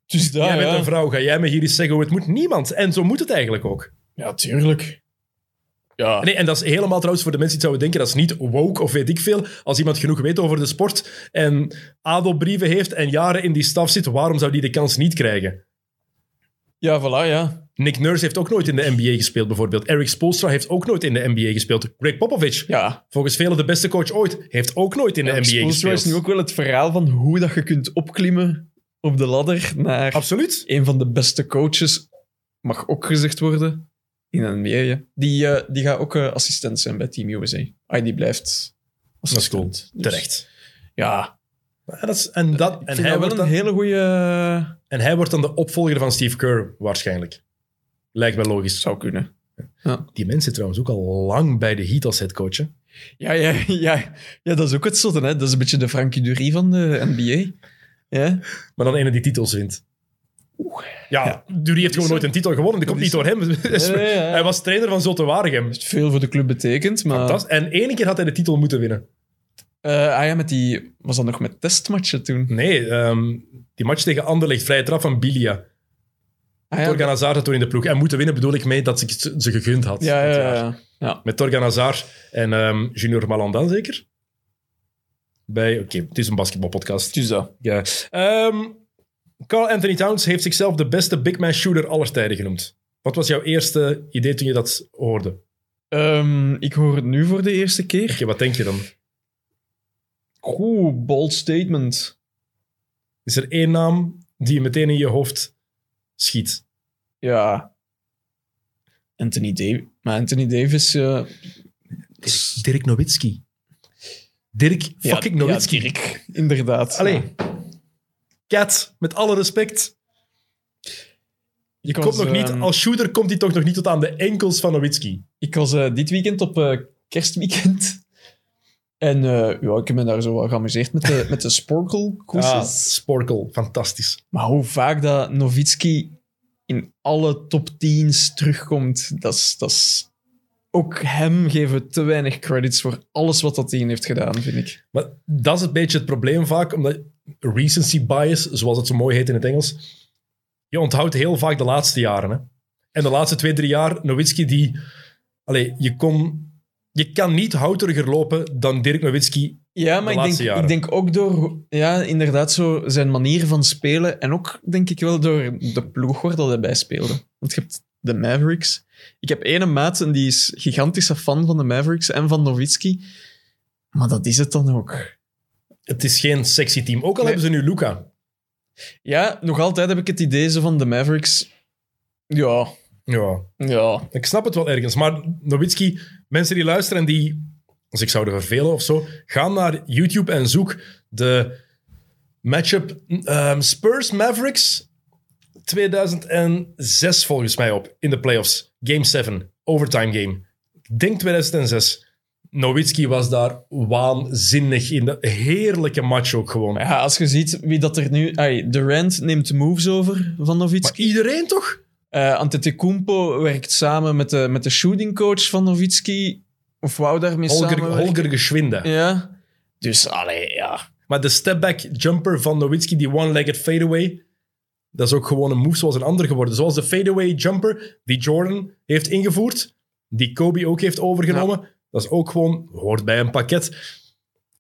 [SPEAKER 3] Dus daar,
[SPEAKER 2] jij bent
[SPEAKER 3] ja.
[SPEAKER 2] een vrouw, ga jij me hier eens zeggen hoe het moet? Niemand. En zo moet het eigenlijk ook.
[SPEAKER 3] Ja, tuurlijk. Ja.
[SPEAKER 2] Nee, en dat is helemaal trouwens voor de mensen die het zouden denken, dat is niet woke of weet ik veel. Als iemand genoeg weet over de sport en adelbrieven heeft en jaren in die staf zit, waarom zou die de kans niet krijgen?
[SPEAKER 3] Ja, voilà, ja.
[SPEAKER 2] Nick Nurse heeft ook nooit in de NBA gespeeld, bijvoorbeeld. Eric Spoelstra heeft ook nooit in de NBA gespeeld. Greg Popovich,
[SPEAKER 3] Ja.
[SPEAKER 2] volgens velen de beste coach ooit, heeft ook nooit in de
[SPEAKER 3] En
[SPEAKER 2] NBA
[SPEAKER 3] Spoelstra
[SPEAKER 2] gespeeld.
[SPEAKER 3] is nu ook wel het verhaal van hoe dat je kunt opklimmen op de ladder naar
[SPEAKER 2] Absoluut.
[SPEAKER 3] een van de beste coaches, mag ook gezegd worden, in de NBA. ja. Die, eh, die gaat ook eh, assistent zijn bij Team USA. Ah, die blijft
[SPEAKER 2] Dat is cool.
[SPEAKER 3] assistent. Dus-
[SPEAKER 2] Terecht.
[SPEAKER 3] Ja.
[SPEAKER 2] Ja, dat is, en, dat,
[SPEAKER 3] En
[SPEAKER 2] en, hij
[SPEAKER 3] wel
[SPEAKER 2] wordt
[SPEAKER 3] een
[SPEAKER 2] dan,
[SPEAKER 3] hele eh, goede...
[SPEAKER 2] en hij wordt dan de opvolger van Steve Kerr, waarschijnlijk. Lijkt mij logisch.
[SPEAKER 3] Zou kunnen.
[SPEAKER 2] Die mensen trouwens ook al lang bij de Heat als headcoach. hè.
[SPEAKER 3] Ja, ja, ja. ja, dat is ook het zotte, hè. Dat is een beetje de Frankie Dury van de NBA. Ja.
[SPEAKER 2] Maar dan ene die titels wint. Ja, Dury heeft gewoon
[SPEAKER 3] zo.
[SPEAKER 2] nooit een titel gewonnen. Dat komt niet
[SPEAKER 3] is
[SPEAKER 2] door hem.
[SPEAKER 3] nee, ja.
[SPEAKER 2] Hij was trainer van Zulte Waregem.
[SPEAKER 3] Het veel voor de club betekent, maar...
[SPEAKER 2] Fantastisch. En één keer had hij de titel moeten winnen.
[SPEAKER 3] Eh, ah ja, met die... Was dat nog met testmatchen toen?
[SPEAKER 2] Nee, ehm, die match tegen Anderlecht, vrije trap van Bilia.
[SPEAKER 3] Ah, ja,
[SPEAKER 2] Torgan Hazard had toen in de ploeg. En moeten winnen bedoel ik mee dat ik ze ze gegund had.
[SPEAKER 3] ja,
[SPEAKER 2] dat
[SPEAKER 3] ja,
[SPEAKER 2] jaar.
[SPEAKER 3] ja, ja. Ja.
[SPEAKER 2] Met Torgan Hazard en ehm, Junior Malandan zeker? Bij, oké, het is een basketbalpodcast.
[SPEAKER 3] Dus dat.
[SPEAKER 2] Ja. Ehm, Carl Anthony Towns heeft zichzelf de beste big man shooter aller tijden genoemd. Wat was jouw eerste idee toen je dat hoorde? Oké,
[SPEAKER 3] Ehm, ik hoor het nu voor de eerste keer.
[SPEAKER 2] wat denk je dan?
[SPEAKER 3] Oeh, bold statement.
[SPEAKER 2] Is er één naam die je meteen in je hoofd schiet?
[SPEAKER 3] Ja. Anthony Davis. Maar Anthony Davis... eh, is-
[SPEAKER 2] Dirk Nowitzki. Dirk
[SPEAKER 3] Ja,
[SPEAKER 2] fucking
[SPEAKER 3] ja,
[SPEAKER 2] Nowitzki.
[SPEAKER 3] Dirk, Inderdaad.
[SPEAKER 2] Allee.
[SPEAKER 3] Ja.
[SPEAKER 2] Cat, met alle respect.
[SPEAKER 3] Ik
[SPEAKER 2] Komt
[SPEAKER 3] was,
[SPEAKER 2] nog niet,
[SPEAKER 3] ehm,
[SPEAKER 2] als shooter komt hij toch nog niet tot aan de enkels van Nowitzki.
[SPEAKER 3] Ik was eh, dit weekend op eh, kerstweekend. En eh, ja, ik heb me daar zo wel geamuseerd met de, met de
[SPEAKER 2] Ah,
[SPEAKER 3] sporkelkoersjes.
[SPEAKER 2] Sporkel, fantastisch.
[SPEAKER 3] Maar hoe vaak dat Novitski in alle top 10's terugkomt, dat is, dat is... Ook hem geven we te weinig credits voor alles wat dat team heeft gedaan, vind ik.
[SPEAKER 2] Maar dat is een beetje het probleem vaak, omdat recency bias, zoals het zo mooi heet in het Engels, je onthoudt heel vaak de laatste jaren. Hè? En de laatste twee, drie jaar, Nowitzki die... Allee, je, kon, je kan niet houteriger lopen dan Dirk Nowitzki
[SPEAKER 3] Ja, maar ik
[SPEAKER 2] laatste
[SPEAKER 3] denk,
[SPEAKER 2] jaren.
[SPEAKER 3] ik denk ook door ja, inderdaad zo zijn manier van spelen. En ook denk ik wel door de ploeg waar dat hij bij speelde. Want je hebt de Mavericks. Ik heb ene maat en die is gigantische fan van de Mavericks en van Nowitzki. Maar dat is het dan ook.
[SPEAKER 2] Het is geen sexy team. Ook al
[SPEAKER 3] Nee.
[SPEAKER 2] hebben ze nu Luca.
[SPEAKER 3] Ja, nog altijd heb ik het idee zo van de Mavericks. Ja,
[SPEAKER 2] Ja,
[SPEAKER 3] ja.
[SPEAKER 2] ik snap het wel ergens. Maar Nowitzki, mensen die luisteren en die als ik zou er vervelen of zo, ga naar YouTube en zoek de matchup ehm, Spurs Mavericks 2006 volgens mij op in de playoffs. Game 7, overtime game. Ik denk 2006. Nowitzki was daar waanzinnig in. De heerlijke match ook gewoon.
[SPEAKER 3] ja. Als je ziet wie dat er nu... Ai, Durant neemt moves over van Nowitzki.
[SPEAKER 2] Maar iedereen toch?
[SPEAKER 3] Eh Antetokounmpo werkt samen met de, met de shootingcoach van Nowitzki. Of wou daarmee
[SPEAKER 2] Holger,
[SPEAKER 3] samenwerken.
[SPEAKER 2] Holger Geschwinde.
[SPEAKER 3] Ja. Dus, allee, ja.
[SPEAKER 2] Maar de stepback jumper van Nowitzki, die one-legged fadeaway, dat is ook gewoon een move zoals een ander geworden. Zoals de fadeaway jumper die Jordan heeft ingevoerd, die Kobe ook heeft overgenomen. Dat is ook gewoon, hoort bij een pakket.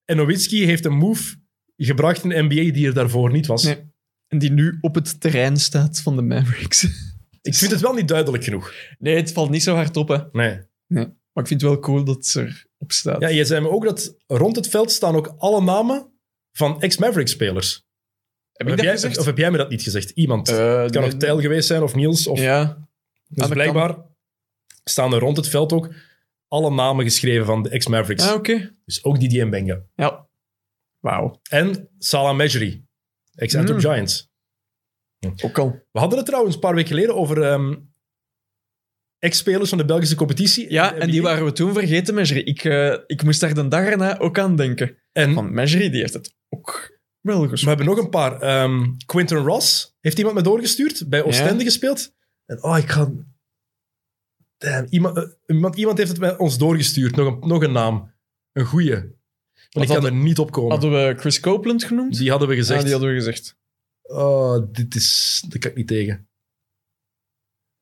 [SPEAKER 2] En Nowitzki heeft een move gebracht in de NBA die er daarvoor niet was.
[SPEAKER 3] Nee. En die nu op het terrein staat van de Mavericks.
[SPEAKER 2] Ik vind het wel niet duidelijk genoeg.
[SPEAKER 3] Nee, het valt niet zo hard op, hè.
[SPEAKER 2] Nee.
[SPEAKER 3] Maar ik vind het wel cool dat ze erop staat.
[SPEAKER 2] Ja, je zei me ook dat rond het veld staan ook alle namen van ex-Maverick-spelers.
[SPEAKER 3] heb
[SPEAKER 2] Heb
[SPEAKER 3] ik dat
[SPEAKER 2] jij-
[SPEAKER 3] gezegd?
[SPEAKER 2] Of heb jij me dat niet gezegd? Iemand.
[SPEAKER 3] Eh,
[SPEAKER 2] het kan
[SPEAKER 3] nee.
[SPEAKER 2] ook Tijl geweest zijn, of Niels, of
[SPEAKER 3] Ja.
[SPEAKER 2] Dus
[SPEAKER 3] Aan de
[SPEAKER 2] blijkbaar staan er rond het veld ook alle namen geschreven van de ex-Mavericks.
[SPEAKER 3] Ah, oké.
[SPEAKER 2] Dus ook Didier Mbenga.
[SPEAKER 3] Ja. Wauw.
[SPEAKER 2] En Salah Mejri, ex-Antwerp
[SPEAKER 3] Hmm.
[SPEAKER 2] Giants.
[SPEAKER 3] Ook al.
[SPEAKER 2] We hadden het trouwens een paar weken geleden over ehm, ex-spelers van de Belgische competitie. Eh,
[SPEAKER 3] Ja, en die
[SPEAKER 2] NBA.
[SPEAKER 3] waren we toen vergeten, Mejri. Ik, eh, ik moest daar de dag erna ook aan denken.
[SPEAKER 2] En
[SPEAKER 3] Van Mejri, die heeft het ook wel gespeeld.
[SPEAKER 2] we hebben nog een paar. Ehm Quinton Ross heeft iemand me doorgestuurd, bij Oostende gespeeld. En oh, ik ga... Damn, iemand, eh, iemand, iemand heeft het bij ons doorgestuurd. Nog een, nog een naam. Een goeie. Want ik kan
[SPEAKER 3] hadden-
[SPEAKER 2] er niet op komen.
[SPEAKER 3] Hadden we Chris Copeland genoemd?
[SPEAKER 2] Die hadden we gezegd.
[SPEAKER 3] Ja, die hadden we gezegd.
[SPEAKER 2] Oh, dit is... Dat kan ik niet tegen.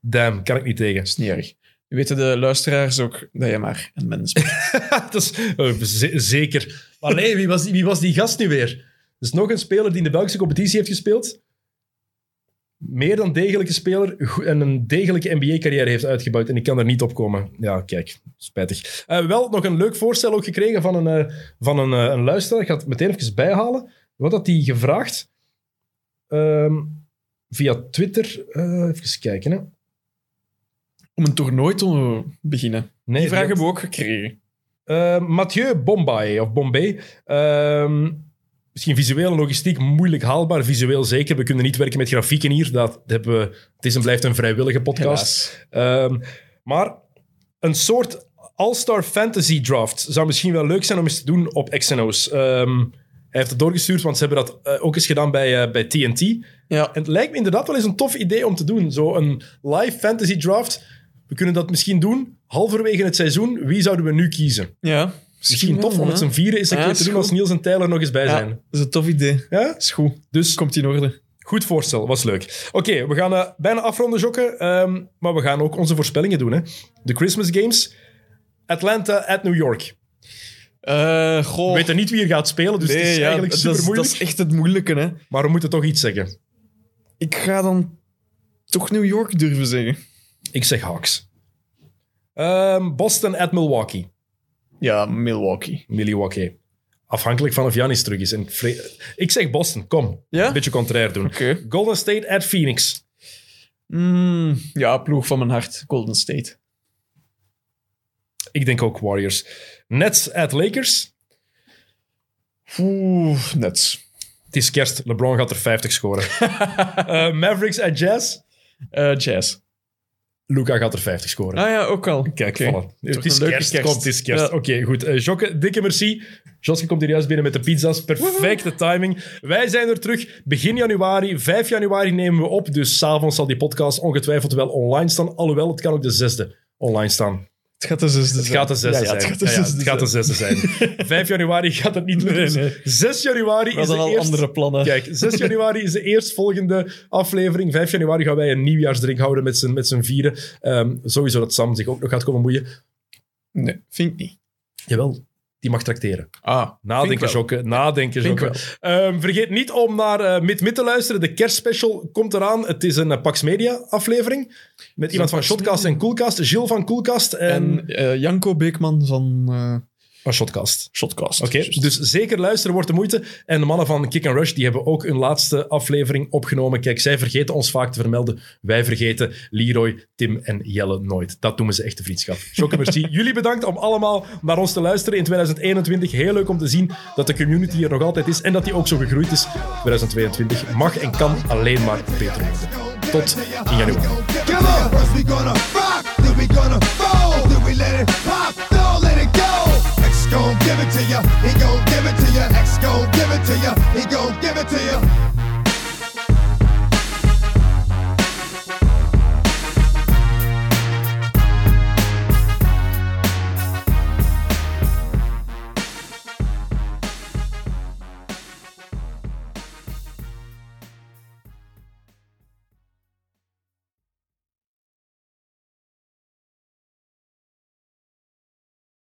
[SPEAKER 2] Damn, kan ik niet tegen.
[SPEAKER 3] is niet erg. Nu weten de luisteraars ook dat je maar een mens bent.
[SPEAKER 2] dat is eh, ze- zeker. Maar nee, wie was, die, wie was die gast nu weer? Er is nog een speler die in de Belgische competitie heeft gespeeld. Meer dan degelijke speler goe- en een degelijke NBA-carrière heeft uitgebouwd. En ik kan er niet op komen. Ja, kijk, spijtig. Eh, wel nog een leuk voorstel ook gekregen van een, eh, van een, eh, een luisteraar. Ik ga het meteen even bijhalen. Wat had hij gevraagd? Ehm, via Twitter. Eh, even kijken, hè.
[SPEAKER 3] Om een toernooi te beginnen.
[SPEAKER 2] Nee,
[SPEAKER 3] Die vraag
[SPEAKER 2] had-
[SPEAKER 3] hebben we ook gekregen.
[SPEAKER 2] Eh, Mathieu Bombay of Bombay. Ehm, misschien visueel en logistiek moeilijk haalbaar. Visueel zeker. We kunnen niet werken met grafieken hier. Dat hebben we, het is en blijft een vrijwillige podcast. Ehm, maar een soort All-Star Fantasy Draft zou misschien wel leuk zijn om eens te doen op XNO's. Ehm, hij heeft het doorgestuurd, want ze hebben dat eh, ook eens gedaan bij, eh, bij TNT.
[SPEAKER 3] Ja.
[SPEAKER 2] En het lijkt me inderdaad wel eens een tof idee om te doen. Zo een live fantasy draft. We kunnen dat misschien doen. Halverwege het seizoen, wie zouden we nu kiezen?
[SPEAKER 3] ja.
[SPEAKER 2] Misschien tof om met z'n vieren is een
[SPEAKER 3] Ja,
[SPEAKER 2] keer
[SPEAKER 3] is
[SPEAKER 2] te doen
[SPEAKER 3] goed.
[SPEAKER 2] als Niels en Tyler nog eens bij
[SPEAKER 3] zijn.
[SPEAKER 2] zijn.
[SPEAKER 3] is een tof idee.
[SPEAKER 2] Ja?
[SPEAKER 3] Is goed. Dus komt in orde.
[SPEAKER 2] Goed voorstel, was leuk. Oké, we gaan eh, bijna afronden, Jokken. ehm, maar we gaan ook onze voorspellingen doen. Hè. De Christmas Games. Atlanta at New York.
[SPEAKER 3] Eh
[SPEAKER 2] We
[SPEAKER 3] goh.
[SPEAKER 2] weten niet wie er gaat spelen, dus het is
[SPEAKER 3] Nee, ja,
[SPEAKER 2] eigenlijk
[SPEAKER 3] dat,
[SPEAKER 2] super
[SPEAKER 3] is, dat
[SPEAKER 2] moeilijk.
[SPEAKER 3] is echt het moeilijke, hè.
[SPEAKER 2] Maar we moeten toch iets zeggen.
[SPEAKER 3] Ik ga dan toch New York durven zeggen.
[SPEAKER 2] Ik zeg Hawks. Ehm, Boston at Milwaukee.
[SPEAKER 3] Ja, Milwaukee.
[SPEAKER 2] Milwaukee. Afhankelijk van of Janis terug is. En vre- ik zeg Boston, kom.
[SPEAKER 3] Ja?
[SPEAKER 2] Een beetje contrair doen.
[SPEAKER 3] Oké.
[SPEAKER 2] Golden State at Phoenix.
[SPEAKER 3] Mm, ja, ploeg van mijn hart. Golden State.
[SPEAKER 2] Ik denk ook Warriors. Nets at Lakers.
[SPEAKER 3] Oeh, Nets.
[SPEAKER 2] Het is kerst. LeBron gaat er 50 scoren. Eh, Mavericks at Jazz.
[SPEAKER 3] Eh, jazz.
[SPEAKER 2] Luca gaat er 50 scoren.
[SPEAKER 3] Ah ja, ook al.
[SPEAKER 2] Kijk,
[SPEAKER 3] Oké.
[SPEAKER 2] voilà. Het
[SPEAKER 3] Toch
[SPEAKER 2] is
[SPEAKER 3] een leuke
[SPEAKER 2] kerst.
[SPEAKER 3] kerst. Oh,
[SPEAKER 2] Komt, het is kerst.
[SPEAKER 3] Ja.
[SPEAKER 2] Oké, goed. Eh, Jokke, dikke merci. Joske komt hier juist binnen met de pizza's. Perfecte timing. Wij zijn er terug begin januari. 5 januari nemen we op. Dus s'avonds zal die podcast ongetwijfeld wel online staan. Alhoewel, het kan ook de zesde online staan.
[SPEAKER 3] Het gaat de zesde
[SPEAKER 2] Het gaat de zesde
[SPEAKER 3] Ja, ja,
[SPEAKER 2] zijn.
[SPEAKER 3] het gaat de
[SPEAKER 2] Ja, ja,
[SPEAKER 3] zesde
[SPEAKER 2] het gaat de zesde zijn. 5 januari gaat het niet lukken.
[SPEAKER 3] Nee, nee.
[SPEAKER 2] 6 januari is de
[SPEAKER 3] We hadden al
[SPEAKER 2] eerste...
[SPEAKER 3] andere plannen.
[SPEAKER 2] Kijk, 6 januari is de eerstvolgende aflevering. 5 januari gaan wij een nieuwjaarsdrink houden met z'n, met z'n vieren. Ehm, sowieso dat Sam zich ook nog gaat komen boeien.
[SPEAKER 3] Nee, vind ik niet.
[SPEAKER 2] Jawel. die mag trakteren.
[SPEAKER 3] Ah,
[SPEAKER 2] Nadenken,
[SPEAKER 3] wel.
[SPEAKER 2] Jokke. Nadenken,
[SPEAKER 3] Vind
[SPEAKER 2] Jokke. Ehm, vergeet niet om naar eh, Mid Mid te luisteren. De kerstspecial komt eraan. Het is een eh, Pax Media aflevering. Met iemand van
[SPEAKER 3] Pax
[SPEAKER 2] Shotcast en Coolcast. Gilles van Coolcast en...
[SPEAKER 3] En eh, Janko Beekman van eh,
[SPEAKER 2] Van Oh, Shotcast.
[SPEAKER 3] Shotcast.
[SPEAKER 2] Oké, dus zeker luisteren wordt de moeite. En de mannen van Kick and Rush die hebben ook hun laatste aflevering opgenomen. Kijk, zij vergeten ons vaak te vermelden. Wij vergeten Leroy, Tim en Jelle nooit. Dat noemen ze echte vriendschap. Jokke, merci. Jullie bedankt om allemaal naar ons te luisteren in 2021. Heel leuk om te zien dat de community er nog altijd is en dat die ook zo gegroeid is. 2022 mag en kan alleen maar beter worden. Tot in januari.
[SPEAKER 1] Come on. First we gonna rock, then we gonna fall, then we let it pop.